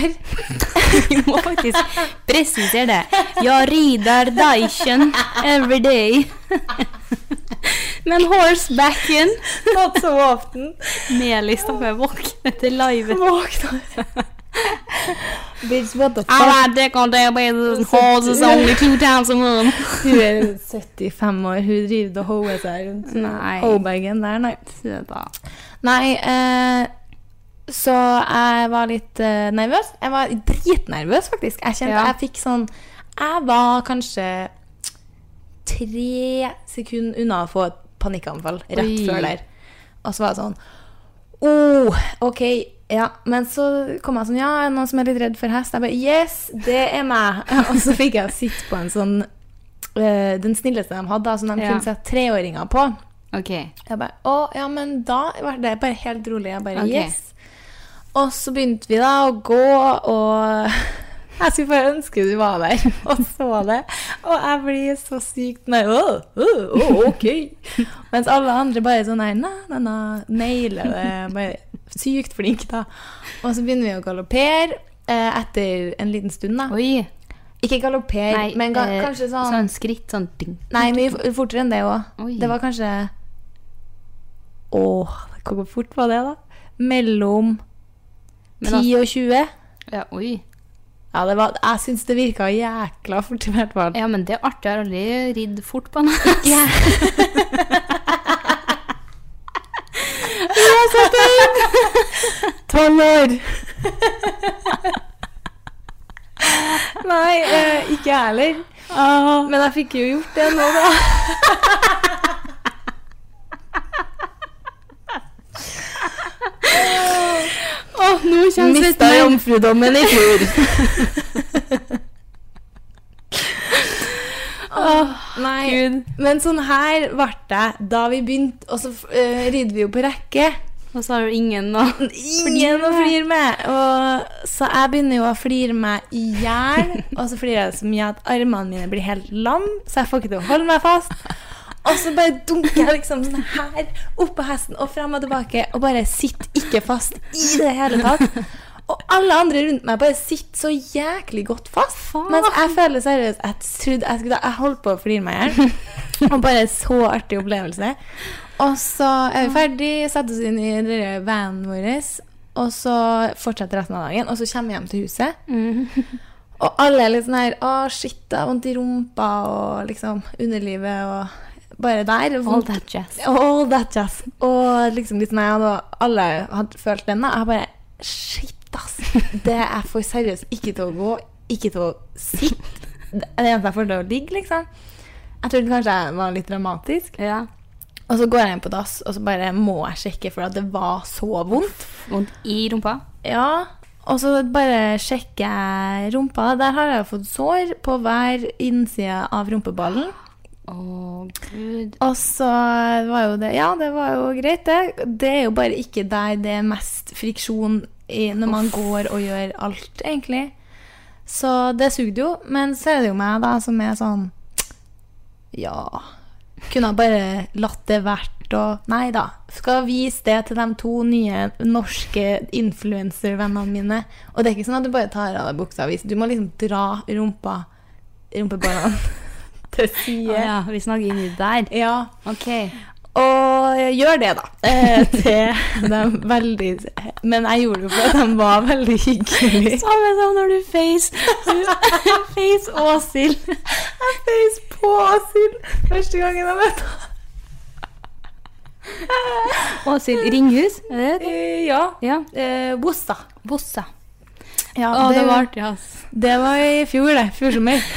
Vi må faktisk presisere det. Jeg rider Dyson every day. Men horsebacken Not so often. Melis da får jeg våkne til live. Våkna Bitch, what the I fuck? ride dick all day, but the horse is only two times a month. Hun er 75 år, hun driver og hoer seg rundt. Nei. Hobergen der, nei. Nei, eh, så jeg var litt eh, nervøs. Jeg var dritnervøs, faktisk. Jeg kjente Ja. jeg fikk sånn Jeg var kanskje tre sekunder unna å få et panikkanfall rett Oi. før der. Og så var jeg sånn oh, OK. Ja, Men så kom jeg sånn Ja, er det noen som er litt redd for hest? Jeg bare Yes, det er meg! Og så fikk jeg sitte på en sånn eh, Den snilleste de hadde, da, som de Ja. kunne sette treåringer på. OK. Jeg bare Å, ja, men da var det bare helt rolig. Jeg bare Ok. Yes. Og så begynte vi da å gå og Jeg skulle bare ønske du var der og så det. Og jeg blir så sykt nei, åh, åh, åh, ok. Mens alle andre bare sånn nei, na, na, na, nailer det. Bare sykt flink, da. Og så begynner vi å galoppere eh, etter en liten stund, da. Oi. Ikke galoppere, men ga, eh, kanskje sånn Sånn skritt, sånn ding. Nei, mye f- fortere enn det òg. Oi. Det var kanskje Åh, hvor fort var det, da? Mellom Men 10 da- og 20. Ja, oi. Ja, det var, jeg syns det virka jækla fort i hvert fall. Ja, men det er artig. Jeg har aldri ridd fort på en hest. Tolv år! Nei, eh, ikke jeg heller. Men jeg fikk jo gjort det nå, da. Åh, nå kjennes det Mista jomfrudommen i fjor. Nei, men sånn her ble det da vi begynte, og så eh, ridde vi jo på rekke. Og så har du ingen nå. Ingen å flire med! Og, så jeg begynner jo å flire meg i hjel, og så flirer jeg så mye at armene mine blir helt lam, så jeg får ikke til å holde meg fast. Og så bare dunker jeg liksom sånn her opp på hesten og frem og tilbake, og bare sitter ikke fast i det hele tatt. Og alle andre rundt meg bare sitter så jæklig godt fast. Mens jeg føler seriøst Jeg trodde jeg skulle Jeg holdt på å flire meg i hjel. Og bare så artig opplevelse. Og så er vi ferdig, setter oss inn i den der vanen vår, og så fortsetter resten av dagen. Og så kommer vi hjem til huset. Og alle er litt sånn her Å, shit, jeg har vondt i rumpa og liksom underlivet og bare der. All Vondt. that jazz. All that jazz. Og liksom litt sånn her, og alle hadde følt den, da. Jeg bare Shit, ass. Det jeg får seriøst ikke til å gå, ikke til å sitte. Det er det eneste jeg får til å ligge, liksom. Jeg trodde kanskje jeg var litt dramatisk. Ja. Og så går jeg inn på dass, og så bare må jeg sjekke, for at det var så vondt. Vondt i rumpa. Ja, og så bare sjekker jeg rumpa. Der har jeg jo fått sår på hver innside av rumpeballen. Å, gud. Og så var jo det Ja, det var jo greit, det. Det er jo bare ikke der det er mest friksjon i, når man går og gjør alt, egentlig. Så det sugde jo. Men så er det jo meg, da, som er sånn Ja. Kunne ha bare latt det vært og Nei da. Skal vise det til de to nye norske influenservennene mine. Og det er ikke sånn at du bare tar av deg buksa og viser. Du må liksom dra rumpa rumpeballene til Å side. ja, vi snakker inni der. Ja, OK. og gjør det, da. Eh, til de veldig Men jeg gjorde det fordi de var veldig hyggelige. Samme som når du face Face Åshild. Jeg feis på Asil første gangen jeg møtte henne. Åshild Ringhus, er det det? Eh, Ja. Ja. Eh, Bossa. Bossa. Ja, Å, det, var, artig, ass. det var i fjor, det. Fjor sommer.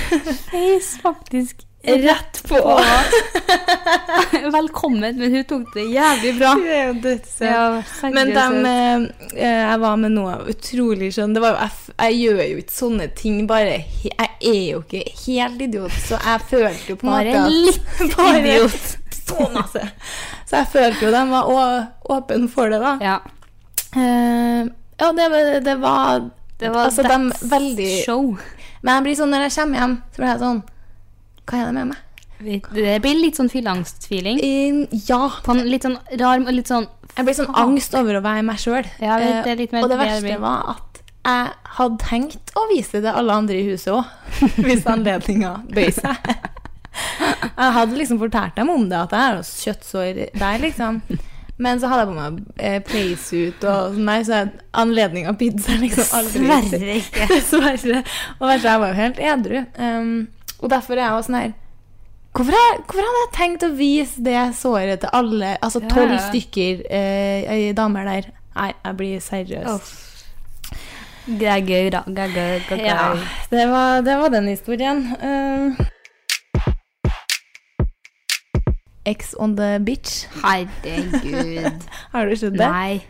Face faktisk Rett på. Velkommen, men hun tok det jævlig bra. Hun er jo dødssøt. seriøst. Men dem eh, eh, jeg var med nå, utrolig skjønn. Det var jo, jeg, f- jeg gjør jo ikke sånne ting, bare he- Jeg er jo ikke helt idiot, så jeg følte jo på en Bare måte at- litt Bare idiot. Så sånn, altså. masse! Så jeg følte jo de var å- åpen for det, da. Ja. Eh, ja, det, var- det var Det var Altså, dem that's veldig- show. Men jeg blir sånn når jeg kommer hjem, så blir jeg sånn Hva er det med meg? Det blir litt sånn fylleangstfeeling. Eh, ja. På en litt sånn rar og litt sånn Jeg blir sånn angst over å være meg Eh, sjøl. Ja, det er litt mer og det det verste jeg blir. var at jeg hadde tenkt å vise det til alle andre i huset òg, hvis anledninga bøy seg. Jeg hadde liksom fortalt dem om det, at jeg har jo kjøttsår der, liksom. Men så hadde jeg på meg eh, playsuit og sånn der, så anledninga bydde seg liksom aldri. Sverre ikke. Dessverre. Og verst, jeg var jo helt edru. Um, og derfor er jeg også sånn her Hvorfor, har- hvorfor hadde jeg tenkt å vise det såret til alle, altså Ja, tolv ja. stykker eh, damer der? Nei, jeg blir seriøs. Det er gøy, da. Det er gøy, gøy, gøy. Ja, det var, det var den historien. Um, Ex on the beach. Herregud. Har du sett det? Nei.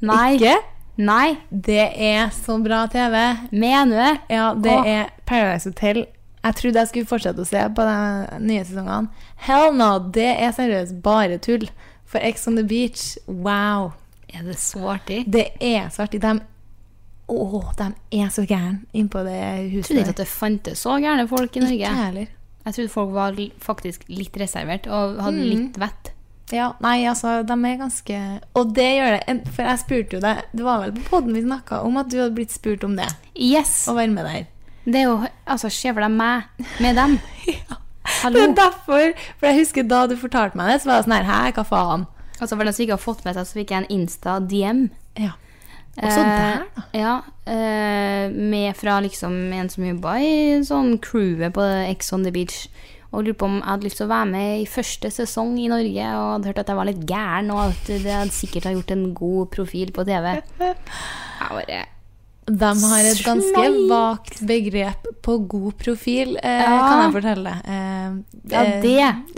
Nei. Ikke? Nei. Det er så bra TV. Mener du det? Ja, det Åh. er Paradise Hotel. Jeg trodde jeg skulle fortsette å se på de nye sesongene. Hell no! Det er seriøst bare tull. For Ex on the Beach, wow. Er det så artig? Det er så artig. De Å, de er så gærne innpå det Jeg trodde huset. ikke at det fantes så gærne folk i Norge. Ikke heller. Jeg trodde folk var l- faktisk litt reservert og hadde Mm. litt vett. Ja, nei, altså, de er ganske Og det gjør det. en- For jeg spurte jo deg Det var vel på poden vi snakka om at du hadde blitt spurt om det, Yes! å være med der. Det er jo Altså, se for deg meg med dem. Det Hallo. er derfor. For jeg husker da du fortalte meg det, så var jeg sånn her Hæ, hva faen? Altså, for de som ikke har fått med seg, så fikk jeg en Insta-DM. Ja. Også der, da. Ja. Eh, med fra liksom en som jobba i sånn crewet på Ex on the Beach. Og lurte på om jeg hadde lyst til å være med i første sesong i Norge. Og hadde hørt at jeg var litt gæren, og at det hadde sikkert har gjort en god profil på TV. Jeg bare De har et ganske Sleikt. vagt begrep på god profil, eh, Ja. kan jeg fortelle. Eh, Ja, eh, det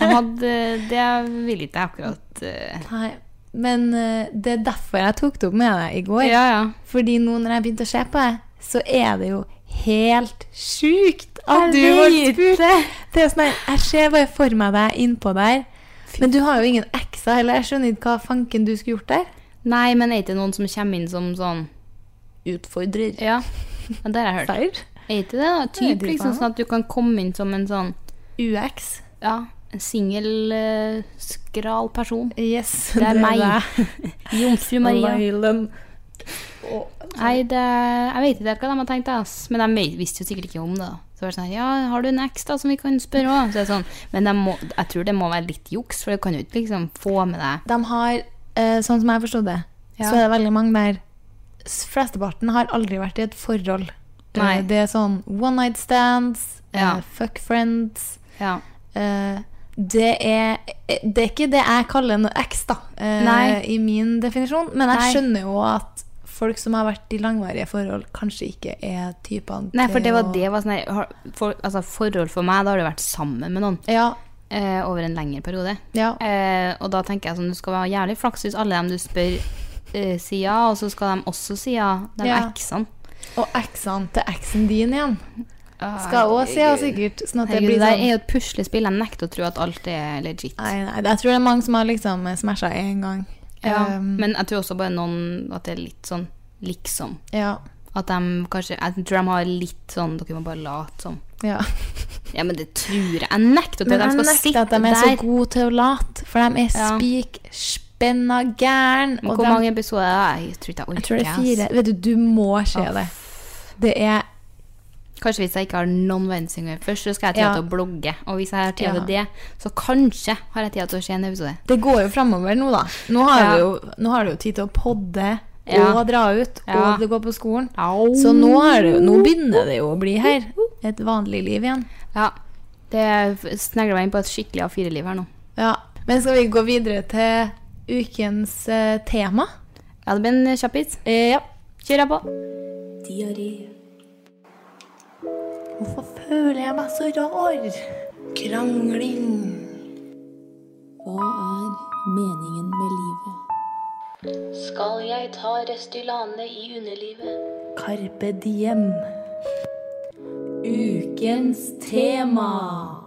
De hadde, Det ville ikke jeg akkurat eh. Nei, men eh, det er derfor jeg tok det opp med deg i går. Ja, ja. Fordi nå når jeg begynte å se på det, så er det jo helt sjukt Jeg at du ble vet spurt. Det er sånn her, Jeg ser bare for meg deg innpå der. Men du har jo ingen ekser heller. Jeg skjønner ikke hva fanken du skulle gjort der. Nei, men er det ikke noen som kommer inn som sånn Utfordrer. Ja, ja det har jeg hørt. Feir. Er ikke det da? Nei, Typ det er liksom faen. sånn at du kan komme inn som en sånn UX. Ja, en singel, eh, skral person. Yes. Det er meg. Jomfru Maria. Mailen. Å, Nei, det, jeg vet ikke hva de har tenkt, ass. men de vet- visste jo sikkert ikke om det. da. Så var det sånn, her, ja, Har du en eks da, som vi kan spørre òg? Så er det sånn, men de må, jeg tror det må være litt juks, for du kan jo ikke liksom få med deg De har, eh, sånn som jeg forstod det, Ja. så er det veldig mange der s- Flesteparten har aldri vært i et forhold. Eh, Nei. Det er sånn one night stands, Ja. eh, fuck friends ja. eh, det, er, eh, det er ikke det jeg kaller noe ex, da, eh, Nei. i min definisjon. Men jeg Nei. skjønner jo at folk som har vært i langvarige forhold, kanskje ikke er typene Nei, for det å- var det var sånn her, har- for, altså, Forhold for meg, da har du vært sammen med noen Ja. eh, over en lengre periode. ja. Eh, og da tenker jeg sånn, du skal være jævlig flaks hvis alle dem du spør, eh, sier ja, og så skal de også si ja, de Ja. eksene. Og eksene til eksen din igjen skal òg Herregud. si ja, sikkert. Sånn at det Herregud, det blir der sånn er jo et puslespill. Jeg nekter å tro at alt er legit. Nei, nei, jeg tror det er mange som har liksom smasha én gang. Ja. Um, Men jeg tror også bare noen at det er litt sånn liksom. ja, At de kanskje Jeg tror de har litt sånn Dere må bare late som. ja. Ja, men det tror jeg. Jeg nekter å tro Men at jeg de skal nekter sitte at de er så der. gode til å late, for de er Ja. spikspenna gæren. Men og Hvor de- mange episoder er det? Jeg tror ikke jeg orker. Jeg tror det er ass. fire. Vet du, du må se Å, det. Det er Kanskje hvis jeg ikke har noen verdensingere først, så skal jeg ha tid Ja. til å blogge. Og hvis jeg har tid til det, så kanskje har jeg tid til å se en episode. Det går jo framover nå, da. Nå har, Ja. du jo, nå har du jo tid til å podde Ja. og dra ut, Ja. og det går på skolen. Au. Så nå, er det, jo- nå begynner det jo å bli her. Et vanlig liv igjen. Ja. Det snegler meg inn på et skikkelig A4-liv her nå. Ja. Men skal vi gå videre til ukens eh, tema? Ja, det blir en kjappis. Eh, ja. Kjør jeg på. Diaré. Hvorfor føler jeg meg så rar? Krangling. Hva er meningen med livet? Skal jeg ta Restylane i underlivet? Carpe diem. Ukens tema.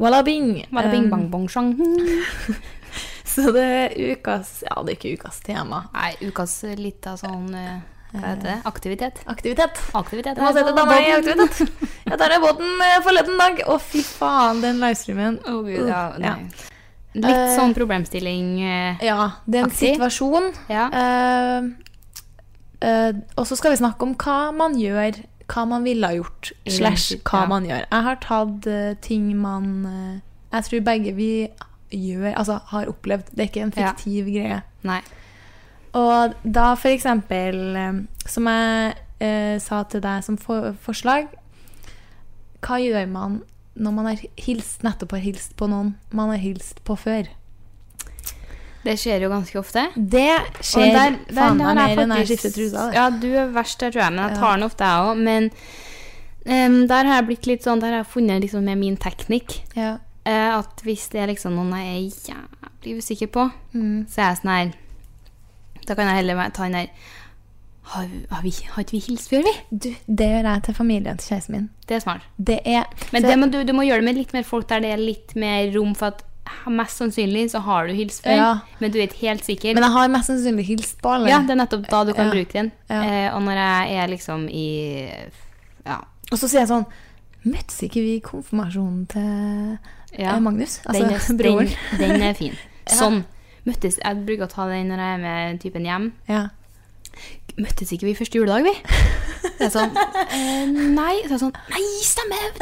Wallabing. Bare bing, bang, bong, sjang. Så det er ukas Ja, det er ikke ukas tema. Nei, ukas lita sånn eh, Hva heter det? Aktivitet. Aktivitet. Aktivitet. Jeg må sette dama i aktivitet. Jeg tar av båten eh, forleden dag. Å, fy faen, den livestreamen. Å, Gud, ja, Ja. nei. Litt sånn problemstilling eh, Ja, det er en Aktiv. situasjon. Ja. Eh, eh, og så skal vi snakke om hva man gjør, hva man ville ha gjort, I den slash sit- hva ja. man gjør. Jeg har tatt eh, ting man eh, Jeg tror begge vi gjør, altså har opplevd. Det er ikke en Ja. fiktiv greie. Nei. Og da for eksempel, eh, som jeg eh, sa til deg som for forslag, hva gjør man når man har hilst, nettopp har hilst på noen man har hilst på før? Det skjer jo ganske ofte. Det Og skjer der- der faen har meg mer enn jeg faktisk- skifter trusa. det. Ja, du er verst der, tror jeg, men jeg tar den ofte, jeg òg. Men em, der har jeg blitt litt sånn, der har jeg funnet liksom med min teknikk Ja. eh, at hvis det er liksom noen jeg er jævlig usikker på, Mm. så er jeg sånn her Da kan jeg heller være- ta den der Har, har, vi, har ikke vi hilst før, vi? Du, det gjør jeg til familien til kjæresten min. Det er smart. Det er Men så- det må du, du må gjøre det med litt mer folk der det er litt mer rom for at mest sannsynlig så har du hilst før, Ja. men du er ikke helt sikker. Men jeg har mest sannsynlig hilst på alle. ja, det er nettopp da du kan Ja. bruke den. Ja. Eh, og når jeg er liksom i Ja. Og så sier jeg sånn Møttes ikke vi i konfirmasjonen til ja. eh, Magnus? Den Altså er- broren. Den, den er fin. Sånn. Møttes, jeg bruker å ta den når jeg er med typen hjem. Ja. Møttes ikke vi første juledag, vi? Det er sånn eh, Nei. Så er det sånn Nei, stemmer!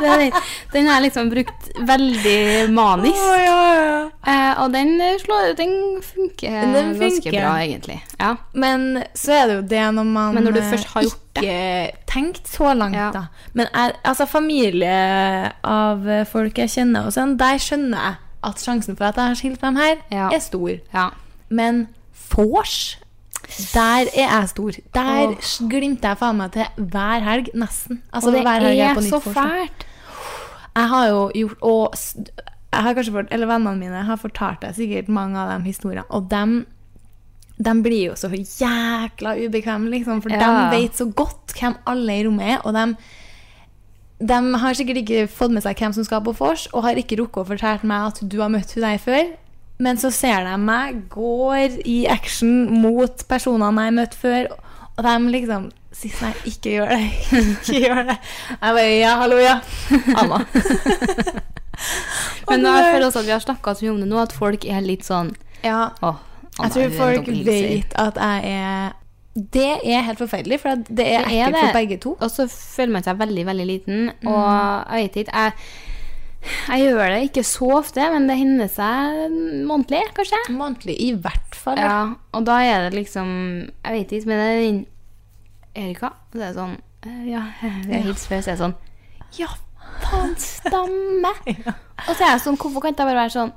det er Den Den har jeg liksom brukt veldig manisk. Å, ja, ja. Eh, og den, eh, slår, den funker Den ganske funker. bra, egentlig. Ja. Men så er det jo det når man eh, Men når du først har gjort ikke tenkt så langt, Ja. da. Men jeg, altså, familie av eh, folk jeg kjenner, og sånn, der skjønner jeg at sjansen for at jeg har skilt dem her, Ja. er stor. ja. Men vors, der er jeg stor. Der Åh. glimter jeg faen meg til hver helg, nesten. Altså, Og det hver helg jeg er på nytt så vors, da. fælt. Jeg har jo gjort Og s- jeg har kanskje fått, eller vennene mine har fortalt deg sikkert mange av de historiene. Og dem, dem blir jo så jækla ubekvemme, liksom. For Ja. de vet så godt hvem alle i rommet er. Og dem, dem har sikkert ikke fått med seg hvem som skal på vors, og har ikke rukket å fortelle meg at du har møtt hun der før. Men så ser de meg, går i action mot personene jeg møtte før, og de liksom sier nei, ikke gjør det, ikke gjør det. Jeg bare ja, hallo, ja. Anna. Men Og jeg det- føler også at vi har snakka så mye om det nå, at folk er litt sånn Ja, Åh, Anna, jeg tror hun er en folk dobbelthilser». vet at jeg er Det er helt forferdelig, for at det er Det er ekkelt det. for begge to. Og så føler man seg veldig, veldig liten. Og jeg vet ikke jeg, jeg gjør det ikke så ofte, men det hender seg månedlig, kanskje. Månedlig, i hvert fall. Ja, og da er det liksom Jeg vet ikke, men det er den Erika, så er det sånn eh, Ja, vi har hilst før, så er det sånn Ja, faen, stamme! Og så er jeg sånn Hvorfor kan ikke jeg bare være sånn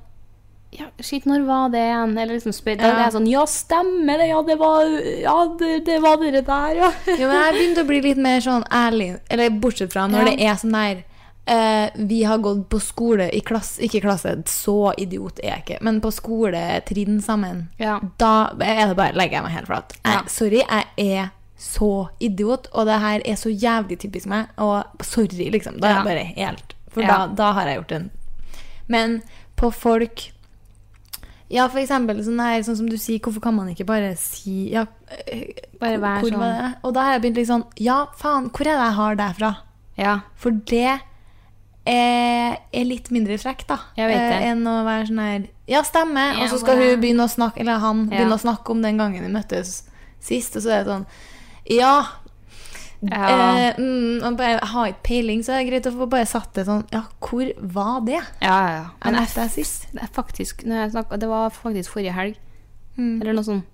ja, Shit, når var det igjen? Eller liksom spør, Da Ja. er jeg sånn Ja, stemmer det! Ja, det var, ja, det, det, var dere der, ja. Jo, men jeg begynte å bli litt mer sånn ærlig, eller bortsett fra Ja. når det er sånn der eh, Vi har gått på skole i klasse Ikke klasse, så idiot er jeg ikke, men på skoletrinn sammen. Ja. Da er det bare legger jeg meg helt flat. Jeg, Ja. Sorry, jeg er så idiot, og det her er så jævlig typisk meg. Og sorry, liksom. Da er Ja. jeg bare helt For Ja. da, da har jeg gjort en Men på folk ja, for eksempel sånn, her, sånn som du sier, hvorfor kan man ikke bare si ja, eh, Bare være hvor var det? Og da har jeg begynt litt sånn Ja, faen, hvor er det jeg har deg fra? Ja. For det er, er litt mindre frekt, da. Jeg vet det. Eh, enn å være sånn her Ja, stemmer. Ja, og så skal hvor er- hun begynne å snakke Eller han Ja. begynne å snakke om den gangen vi møttes sist, og så er det sånn Ja. Ja. Eh, mm, og bare har ikke peiling, så er det greit å få bare satt det sånn Ja, hvor var det? Ja, ja, ja. Jeg Men jeg, møtte deg sist. det er faktisk, når jeg snakket, det var faktisk forrige helg. Mm. Eller noe sånt.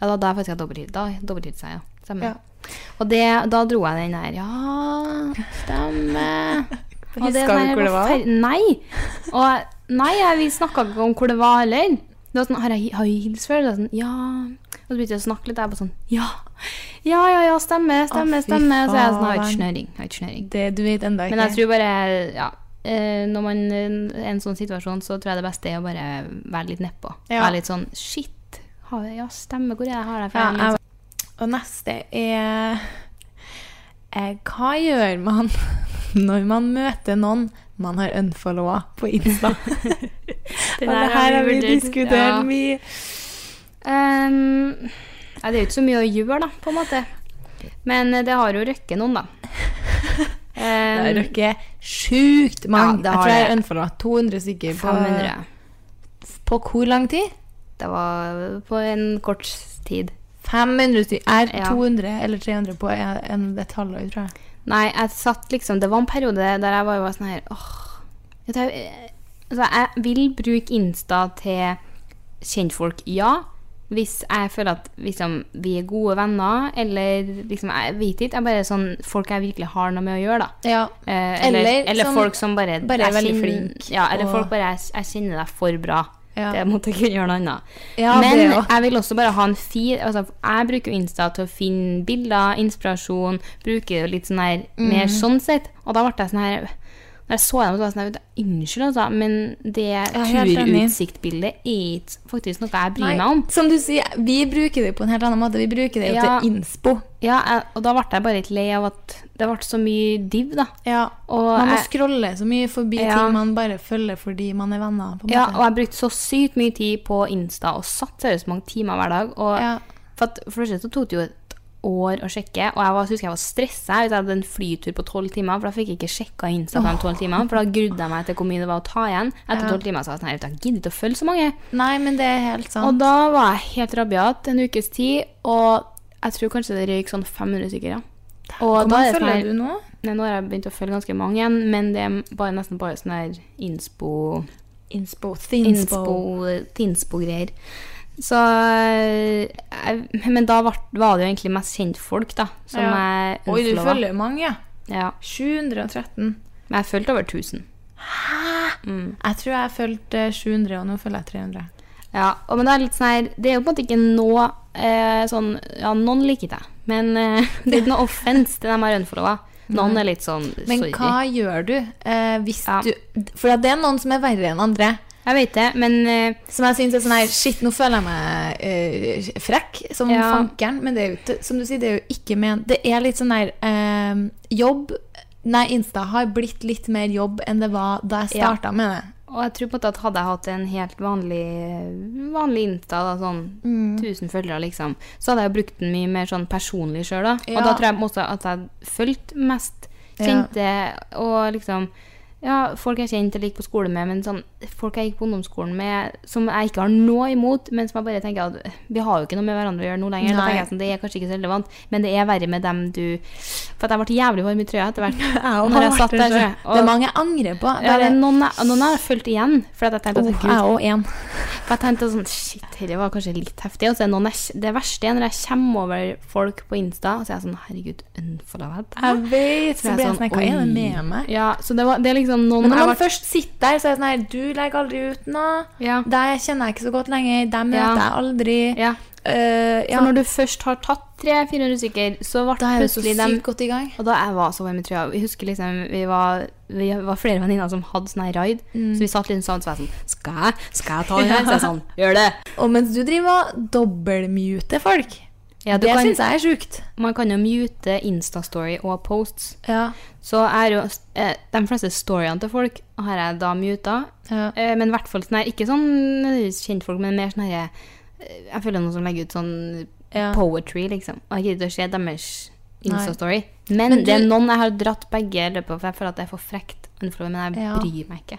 Ja, da, da er faktisk jeg dobbelttid. Da dobbelttid seg, ja. Stemmer. Ja. Og det, da dro jeg den der, ja, stemmer. Og det Husker sånn her du hvor det var? fer- Nei. Og nei, jeg, vi snakket ikke om hvor det var heller. Det var sånn, har jeg, har jeg hilst før? Det var sånn, ja. Og så begynte jeg å snakke litt, og jeg bare sånn, ja. Ja, ja, ja, stemmer, stemmer, fy stemmer. Så jeg er sånn, jeg har faen. ikke snøring, jeg har ikke snøring. Det du vet enda ikke. Men jeg tror bare ja, eh, Når man eh, er i en sånn situasjon, så tror jeg det beste er å bare være litt nedpå. Ja. Være litt sånn Shit! Har jeg, ja, stemmer. Hvor er det jeg har deg fra? Ja, jeg, og neste er eh, Hva gjør man når man møter noen man har unfollowa på Insta? Det og det her har vi diskutert mye. Ehm, ja, det er jo ikke så mye å gjøre, da, på en måte. Men eh, det har jo røkket noen, da. Det Ehm, har røkket sjukt mange. Ja, det jeg har tror jeg det. har unfollowa 200 stykker på, 500. på hvor lang tid? Det var på en kort tid. 500 stykker. Er Ja. 200 eller 300 på en, en, et halvår, tror jeg. Nei, jeg satt liksom Det var en periode der jeg bare var sånn her Åh vet du, jeg, altså, jeg vil bruke Insta til kjentfolk, ja. Hvis jeg føler at liksom, vi er gode venner, eller liksom Jeg vet ikke. Jeg bare er sånn folk jeg virkelig har noe med å gjøre, da. Ja. Eh, eller Eller eller, som folk som bare, bare er jeg veldig kjenner- flink, Ja, eller og- folk bare jeg, 'Jeg kjenner deg for bra'. Ja. Det måtte jeg kunne gjøre noe annet. Ja, Men det også. jeg vil også bare ha en feed. Altså, jeg bruker jo Insta til å finne Mm. bilder, inspirasjon. Bruker jo litt sånn her mer sånn sett. Og da ble jeg sånn her Da jeg så dem, så var jeg sånn "Vet du, Unnskyld, altså, men det er helt enig. turutsiktbildet er ikke faktisk noe jeg bryr Nei, meg om. Som du sier, vi bruker det jo på en helt annen måte. Vi bruker det jo Ja. til innspo. Ja, jeg, og da ble jeg bare litt lei av at det ble så mye div, da. Og man må jeg- scrolle så mye forbi Ja. ting man bare følger fordi man er venner. på en Ja, måte. og jeg brukte så sykt mye tid på Insta og satt seriøst mange timer hver dag. Og Ja. for, at, for det første så tok det jo et år å sjekke, og jeg var, husker jeg var stressa hvis jeg hadde en flytur på tolv timer, for da fikk jeg ikke sjekka Insta på de tolv timene, for da grudde jeg meg til hvor mye det var å ta igjen. Etter tolv timer så var jeg sånn, «Herregud, jeg gidder ikke å følge så mange. Nei, men det er helt sant. Og da var jeg helt rabiat en ukes tid, og jeg tror kanskje det røyk sånn 500 stykker, ja. Og Hvor da mange er det sånn følger her- du nå? Nei, nå har jeg begynt å følge ganske mange igjen, men det er bare, nesten bare sånn her innspo... Inspo. Thinspo. Tinspo- Tinspo-greier. Så eh, jeg- Men da var, var det jo egentlig mest kjentfolk, da. Som Ja. jeg Oi, du unfollowa. følger jo mange. ja. Ja. 713. Men jeg fulgte over 1000. Jeg tror jeg fulgte 700, og nå følger jeg 300. Ja, og, men det er litt sånn her Det er jo på en måte ikke nå eh, sånn Ja, noen liker deg, men eh, det er ikke noe offense til dem jeg har unfollowa. Noen er litt sånn Men sorry. hva gjør du eh, hvis Ja. du For at det er noen som er verre enn andre. Jeg vet det, men eh, Som jeg syns er sånn her Shit, nå føler jeg meg eh, frekk som Ja. fankeren. Men det er jo ikke Som du sier, det er jo ikke men Det er litt sånn her eh, Jobb Nei, Insta har blitt litt mer jobb enn det var da jeg Ja. starta med det. Og jeg tror på en måte at hadde jeg hatt en helt vanlig, vanlig Insta, da, sånn Mm. 1000 følgere, liksom, så hadde jeg jo brukt den mye mer sånn personlig sjøl, da. Og Ja. da tror jeg på en måte at jeg fulgte mest kjente og liksom ja, folk jeg kjente eller gikk på skole med, men sånn, folk jeg gikk på ungdomsskolen med som jeg ikke har noe imot, men som jeg bare tenker at vi har jo ikke noe med hverandre å gjøre nå lenger. Da Nei. tenker jeg sånn, Det er kanskje ikke så relevant, men det er verre med dem du For at jeg ble jævlig varm i trøya etter hvert. Når jeg satt der, så- Det er mange jeg angrer på. Ja, det Bare, er noen, jeg- noen jeg har fulgt igjen. For at jeg tenkte at, Gud, oh, jeg og én. for jeg tenkte sånn Shit, dette var kanskje litt heftig. Og så er det noen jeg, det verste er når jeg kommer over folk på Insta, og så er jeg sånn Herregud, unfollow deg. Jeg vet, jeg så blir jeg sånn, sånn Hva er det oi. med meg? Ja, så det, var, det er liksom noen Men når jeg man ble- først sitter der, så er det sånn her Du legger aldri ut noe. Ja. Deg kjenner jeg ikke så godt lenger. Deg Ja. møter jeg aldri. ja. Eh, ja. For når du først har tatt 300-400 stykker, så ble Da er det så plutselig dem sykt godt i gang. Og da jeg var så varm i trøya Vi husker liksom, vi var, vi var flere venninner som hadde sånn her raid. Så Mm. vi satt liksom sammen, så var jeg sånn Skal jeg, skal jeg ta den her? Så jeg sånn Gjør det! Og mens du driver og dobbeltmuter folk, Ja, du det kan, syns jeg er sjukt. sånn, man kan jo mute Insta-story og posts. Ja. Så er jo eh, de fleste storyene til folk har jeg da muta. Ja. Eh, men i hvert fall sånn her, ikke sånn nødvendigvis kjentfolk, men mer sånn her eh, Jeg føler noen som legger ut sånn Ja. poetry, liksom. Og jeg gidder ikke å se deres Insta-story. Men, Men det er du- noen jeg har dratt begge i løpet av, for jeg føler at det er for frekt. å unfollow, Men jeg Ja. bryr meg ikke.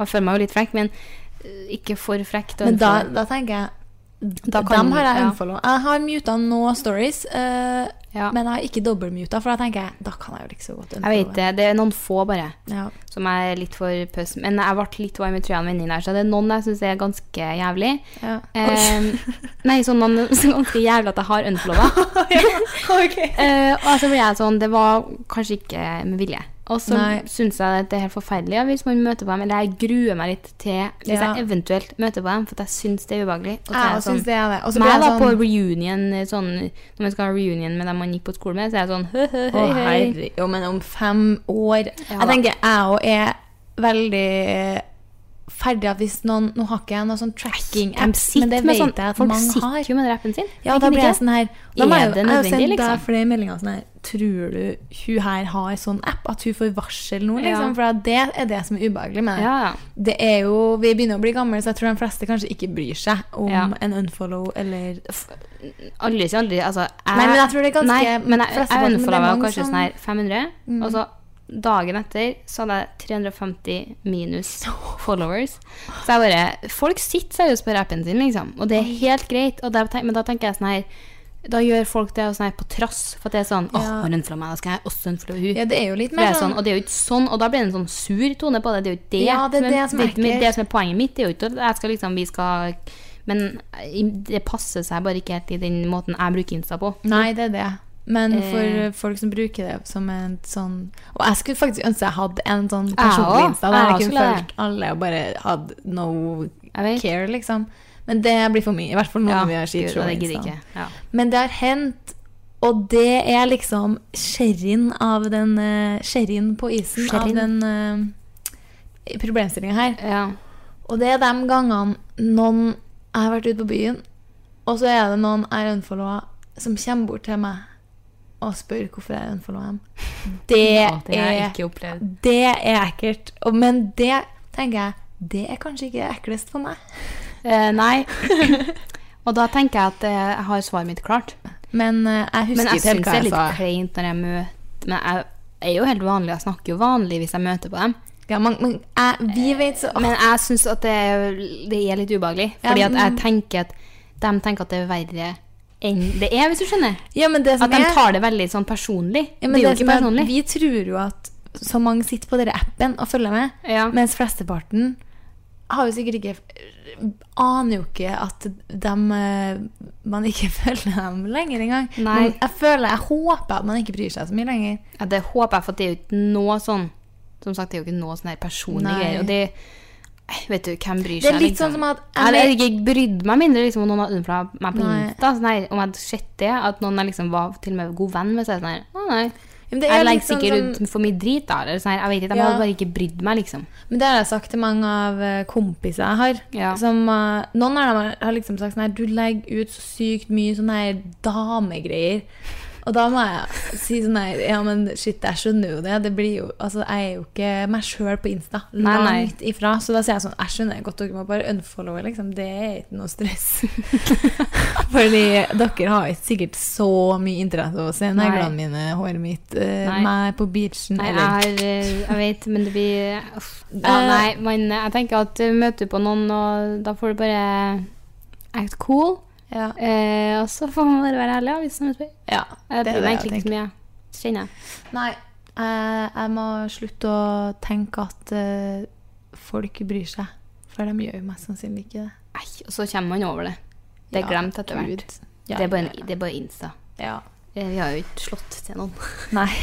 Og jeg føler meg jo litt frekk, men eh, ikke for frekt. å Men da, unfollow. da tenker jeg Da kan- Dem har jeg ja. unfollow. Jeg har muta nå stories, eh, Ja. men jeg har ikke dobbeltmuta, for da tenker jeg da kan jeg jo like så godt jeg vet unfollowe. det. Det er noen få, bare. Ja. som er litt for pøss. Men jeg ble litt varm i trøya av venninnen her, så det er noen jeg syns er ganske jævlig. Ja. Eh, nei, sånn noen som er ganske jævlig at jeg har unfollowa. eh, og så ble jeg sånn Det var kanskje ikke med vilje. Og så Nei. syns jeg at det er helt forferdelig ja, hvis man møter på dem. Eller jeg gruer meg litt til hvis Ja. jeg eventuelt møter på dem, for at jeg syns det er ubehagelig. Og så er Jeg jeg også syns sånn, det er det. Og så men blir jeg jeg da på sånn reunion, eh, sånn, når man skal ha reunion med dem man gikk på skole med, så er jeg sånn hø, hø, Å, høy, høy. herre Jo, men om fem år da. Jeg tenker jeg òg er veldig ferdig at hvis noen Nå har ikke jeg noe sånn De tracking-apps, men sitter det med vet sånn, jeg at folk mange sitter har. jo med rappen sin. Ja, Tenker da de blir ikke? jeg sånn her da Er må jeg jo- det Jeg har jo nødvendig, sendt deg liksom? flere meldinger sånn her Tror du hun her har sånn app at hun får varsel nå, liksom? Ja. For at det er det som er ubehagelig med det. Ja, ja. Det er jo Vi begynner å bli gamle, så jeg tror de fleste kanskje ikke bryr seg om Ja. en unfollow eller Aldri si aldri. Altså, jeg, Nei, men jeg tror det er ganske Nei, men jeg, jeg flesteparten, men det er unfollowa mange kanskje som- Mm. sånn her 500, og så dagen etter så hadde jeg 350 minus followers. Så jeg bare Folk sitter seriøst på rappen sin, liksom. Og det er helt greit. Og da, tenk- men da tenker jeg sånn her Da gjør folk det sånn her på trass, for at det er sånn Å, Ja. hun unfollowa meg, da skal jeg også unfollowe hun. Ja, det er jo litt For det mer er sånn, og det er jo ikke sånn, og da blir det en sånn sur tone på det. Det er jo ikke det, Ja, det er det som er det, ekkelt. det som er poenget mitt. Det er jo ikke at jeg skal liksom, vi skal Men i- det passer seg bare ikke helt i den måten jeg bruker Insta på. Nei, det er det. Men Eh. for folk som bruker det som en sånn Og jeg skulle faktisk ønske jeg hadde en sånn også. personlig Insta der Jeg jeg kunne skulle det. fulgt alle og bare hadde no Jeg vet. care, liksom. Men det blir for mye. I hvert fall nå når vi har liksom. Gud, og det gidder skitråd. ikke. Ja. Men det har hendt, og det er liksom sherryen av den eh, Sherryen på isen Sherryen. av den eh, problemstillinga her. Ja. Og det er de gangene noen Jeg har vært ute på byen, og så er det noen jeg er unfollowa, som kommer bort til meg og spør hvorfor jeg er unfollowa dem. Det, Å, det har jeg er, ikke opplevd. det er ekkelt. Og- Men det tenker jeg det er kanskje ikke eklest for meg. Eh, nei. Og da tenker jeg at eh, jeg har svaret mitt klart. Men eh, jeg husker Men jeg ikke syns helt det hva er jeg litt sa. kleint når jeg møter Men jeg er jo helt vanlig, jeg snakker jo vanlig hvis jeg møter på dem. Ja, man, man, jeg, vi Eh, vet så Men jeg syns at det er, det er litt ubehagelig. Fordi Ja, at jeg tenker at de tenker at det er verre enn det er, hvis du skjønner. Ja, men det som At de er- tar det veldig sånn personlig. Ja, det men er jo det ikke som er, personlig. vi tror jo at så mange sitter på denne appen og følger med, Ja. mens flesteparten har jo sikkert ikke aner jo ikke at dem, eh, man ikke følger dem lenger engang. Nei. Men jeg føler, jeg håper at man ikke bryr seg så mye lenger. Ja, det håper jeg, for det er jo ikke noe sånn Som sagt, det er jo ikke noe sånn her personlig Nei. greier. Og det Eh, Vet du, hvem bryr Det seg? liksom? er litt sånn som at Jeg hadde ikke brydd meg mindre liksom, om noen hadde unnfla meg på Nei. Insta. Sånn her, om jeg hadde sett det, at noen jeg liksom var til og med god venn med, så er det sånn her Å, nei. Men det er jeg litt legger sånn sikkert som- ut for mye drit, da. Eller sånn her. Jeg vet ikke, De Ja. hadde bare ikke brydd meg, liksom. Men det har jeg sagt til mange av eh, kompiser jeg har. Ja. Som, eh, noen av dem har liksom sagt sånn her Du legger ut så sykt mye sånne her damegreier. Og da må jeg si sånn her Ja, men shit, jeg skjønner jo det. det blir jo, altså, jeg er jo ikke meg sjøl på Insta. Nei, Langt nei. ifra. Så da sier jeg sånn Jeg skjønner godt dere må bare unfollowe, liksom. Det er ikke noe stress. Fordi dere har ikke sikkert så mye interesse av å se Nei. neglene mine, håret mitt, eh, Nei. meg på beachen Nei, jeg, eller har, eh, jeg vet, men det blir uff. ja, Eh. Nei, men jeg tenker at eh, møter du på noen, og da får du bare act cool. ja. Eh, og så får man bare være ærlig, ja, hvis noen spør. Ja, Jeg bryr det er meg det jeg egentlig ikke så mye. Kjenner jeg. Nei, eh, jeg må slutte å tenke at eh, folk bryr seg. For de gjør jo mest sannsynlig ikke det. Nei, og så kommer man over det. Det er Ja, glemt etter Gud. hvert. Ja, det, er bare, ja, en- det er bare Insta. ja. Eh, Vi har jo ikke slått til noen. Nei.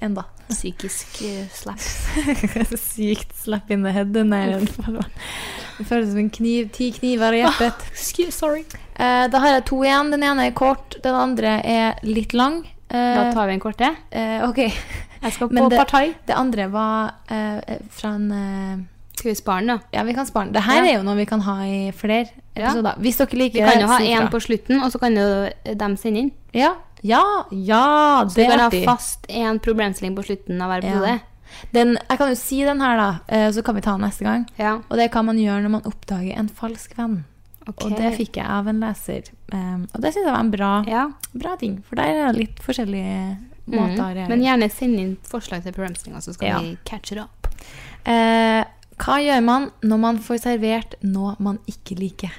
Enda. Psykisk eh, slap. Sykt slapp in the head. Den er en Det føles som en kniv. Ti kniver i hjertet. Ah, Sorry. Eh, da har jeg to igjen. Den ene er kort, den andre er litt lang. Eh, Da tar vi en kort til. eh, ok. Jeg skal Men på det- partai. Det andre var eh, fra en eh, Skal vi spare den, da? Ja, vi kan spare den. Det her Ja. er jo noe vi kan ha i flere Ja. episoder. Hvis dere liker Vi kan jo ha si én fra. på slutten, og så kan jo dem sende inn. Ja, ja, ja Så vi det er kan ha artig. fast én problemstilling på slutten av hver Ja. episode. Den, jeg kan jo si den her, da, eh, så kan vi ta den neste gang. Ja. Og det er hva man gjør når man oppdager en falsk venn. ok. Og det fikk jeg av en leser. Um, og det syns jeg var en bra, ja. bra ting, for der er det litt forskjellige måter å Mm. reagere Men gjerne send inn forslag til problemstillinger, så skal Ja. vi catch it up. Eh, hva gjør man når man får servert noe man ikke liker?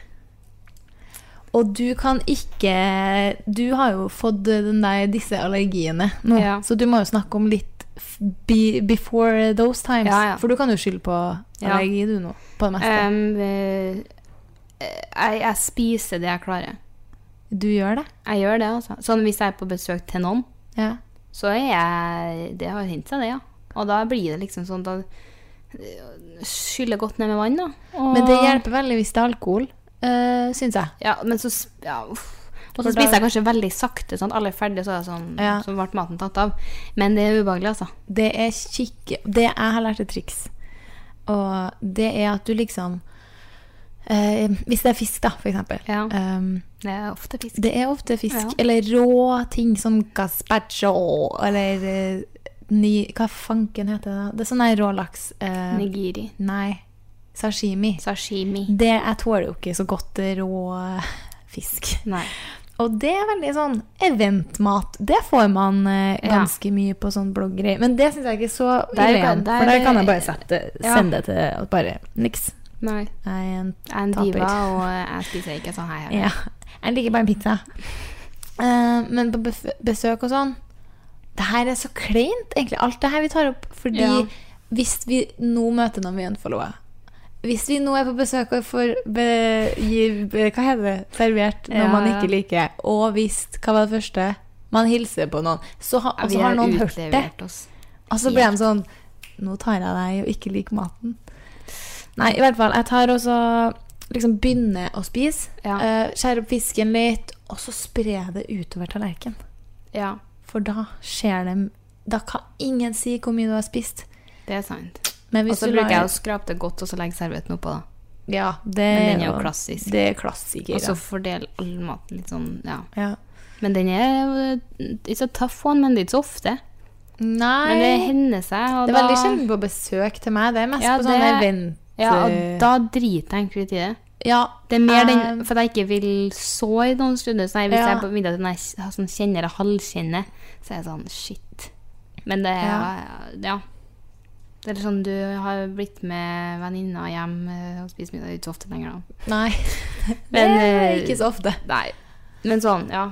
Og du kan ikke Du har jo fått den der, disse allergiene nå, Ja. så du må jo snakke om litt f- be, before those times. Ja, ja. For du kan jo skylde på Ja. allergi, du nå. På det meste. Um, eh, jeg, jeg spiser det jeg klarer. du gjør det? Jeg gjør det, altså. Sånn hvis jeg er på besøk til noen, Ja. så er jeg Det har hendt seg, det, ja. Og da blir det liksom sånn Da eh, skyller jeg godt ned med vann, da. Og, Men det hjelper veldig hvis det er alkohol, uh, syns jeg. Ja, men så sp- ja, uff. Og For så da- spiser jeg kanskje veldig sakte, sånn at alle er ferdige, så er jeg sånn Ja. Så ble maten tatt av. Men det er ubehagelig, altså. Det er kikk... Det jeg har lært et triks. Og det er at du liksom eh, Hvis det er fisk, da, for eksempel. Ja. Ehm, Det er ofte fisk. det er ofte fisk. Ja. Eller rå ting som gazpacho eller eh, ni, Hva fanken heter det? da? Det er sånn her rå laks. eh, Nigiri. nei, sashimi. Sashimi. Det jeg tåler jo ikke så godt eh, rå fisk. Nei. Og det er veldig sånn eventmat. Det får man eh, Ja. ganske mye på sånn blogggreier. Men det syns jeg ikke er så Der ille kan- igjen. der- For der kan jeg bare sette, Ja. sende det til og bare niks. Nei. Jeg er en Jeg er en Taper. diva, og jeg spiser ikke sånn her. Ja. Jeg liker bare en pizza. Eh, men på bef besøk og sånn Det her er så kleint, egentlig, alt det her vi tar opp. Fordi Ja. hvis vi nå møter noen vi unfollower Hvis vi nå er på besøk og får be gir, be hva heter det, servert noe Ja, man ja. ikke liker, og hvis Hva var det første? Man hilser på noen, så ha, og Vi så har noen hørt det. utlevert Oss. Og så ble de sånn Nå tar jeg deg og ikke liker maten. Nei, i hvert fall. Jeg tar også liksom begynner å spise. Ja. eh, skjærer opp fisken litt, og så sprer det utover tallerkenen. Ja, For da skjer det Da kan ingen si hvor mye du har spist. det er sant. Men Og hvis så du bruker jeg lar- å skrape det godt, og så legge servietten oppå. da. Ja, Men det den er jo og- klassisk. Det er klassiker, Og så ja. fordele all maten litt sånn, ja. ja. Men den er eh, It's a tough one, men det er ikke så ofte. Nei Men det det er, hender seg, og veldig da- sjelden på besøk til meg. Det er mest Ja, på sånne det- event... Ja, og da driter jeg egentlig litt i det. Ja, Det er mer den Um, For at jeg ikke vil såre noen stunder. Så nei, hvis Ja. jeg er på middag til noen jeg har sånn kjenner og halvkjenner, så er jeg sånn shit. Men det er ja. Det er litt sånn du har blitt med venninna hjem eh, og spist middag ikke så ofte lenger, da. Nei. Men, det er eh, ikke så ofte. Nei. Men sånn, ja.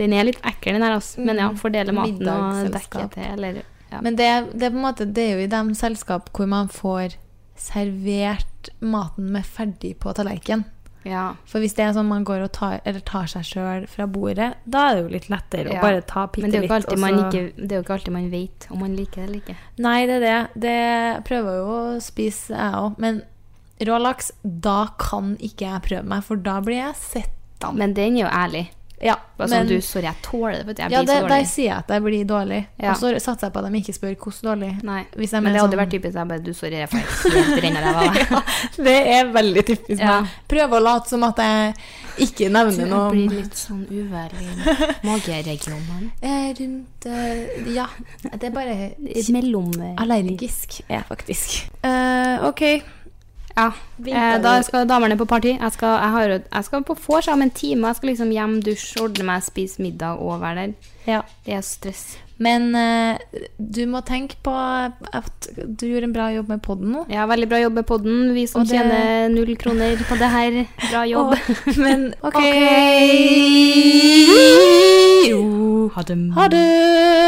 Den er litt ekkel, den her, altså. Men ja, Mm. fordele maten og dekke Middagsselskap. til, eller ja. Men det, det, er på en måte, det er jo i de selskap hvor man får servert maten med ferdig på tallerken. ja. For hvis det er sånn man går og tar, eller tar seg sjøl fra bordet, da er det jo litt lettere Ja. å bare ta bitte Men det er, jo litt. ikke alltid og så- man ikke, det er jo ikke alltid man vet om man liker det eller ikke. Nei, det er det. Det jeg prøver jo å spise, jeg òg. Men rå laks, da kan ikke jeg prøve meg, for da blir jeg sett. Men den er jo ærlig. Ja, Bare men- sånn, du, sorry, jeg tåler det, for at jeg ja blir det, så der dårlig. sier jeg at jeg blir dårlig. Ja. Og så satser jeg på at de ikke spør hvordan dårlig. Nei, Hvis jeg men det mener hadde sånn- vært typisk jeg bare Du, sorry, jeg får helt renner ræva av deg. Ja, det er veldig typisk Ja. meg. Prøv å late som at jeg ikke nevner noe Jeg om- blir litt sånn uværlig i mageregionen. Eh, rundt eh, Ja. Det er bare Mellom allergisk, er jeg faktisk. Eh, OK. Ja. Eh, da skal damene på party. Jeg skal, jeg har, jo- jeg skal på vors om en time. Jeg skal liksom hjem, dusje, ordne meg, spise middag og være der. Ja. Det er stress. Men eh, du må tenke på at du gjorde en bra jobb med podden nå. Ja, veldig bra jobb med podden. Vi som Og det- tjener null kroner på det her. Bra jobb. Og- men OK. Ok. Ha det.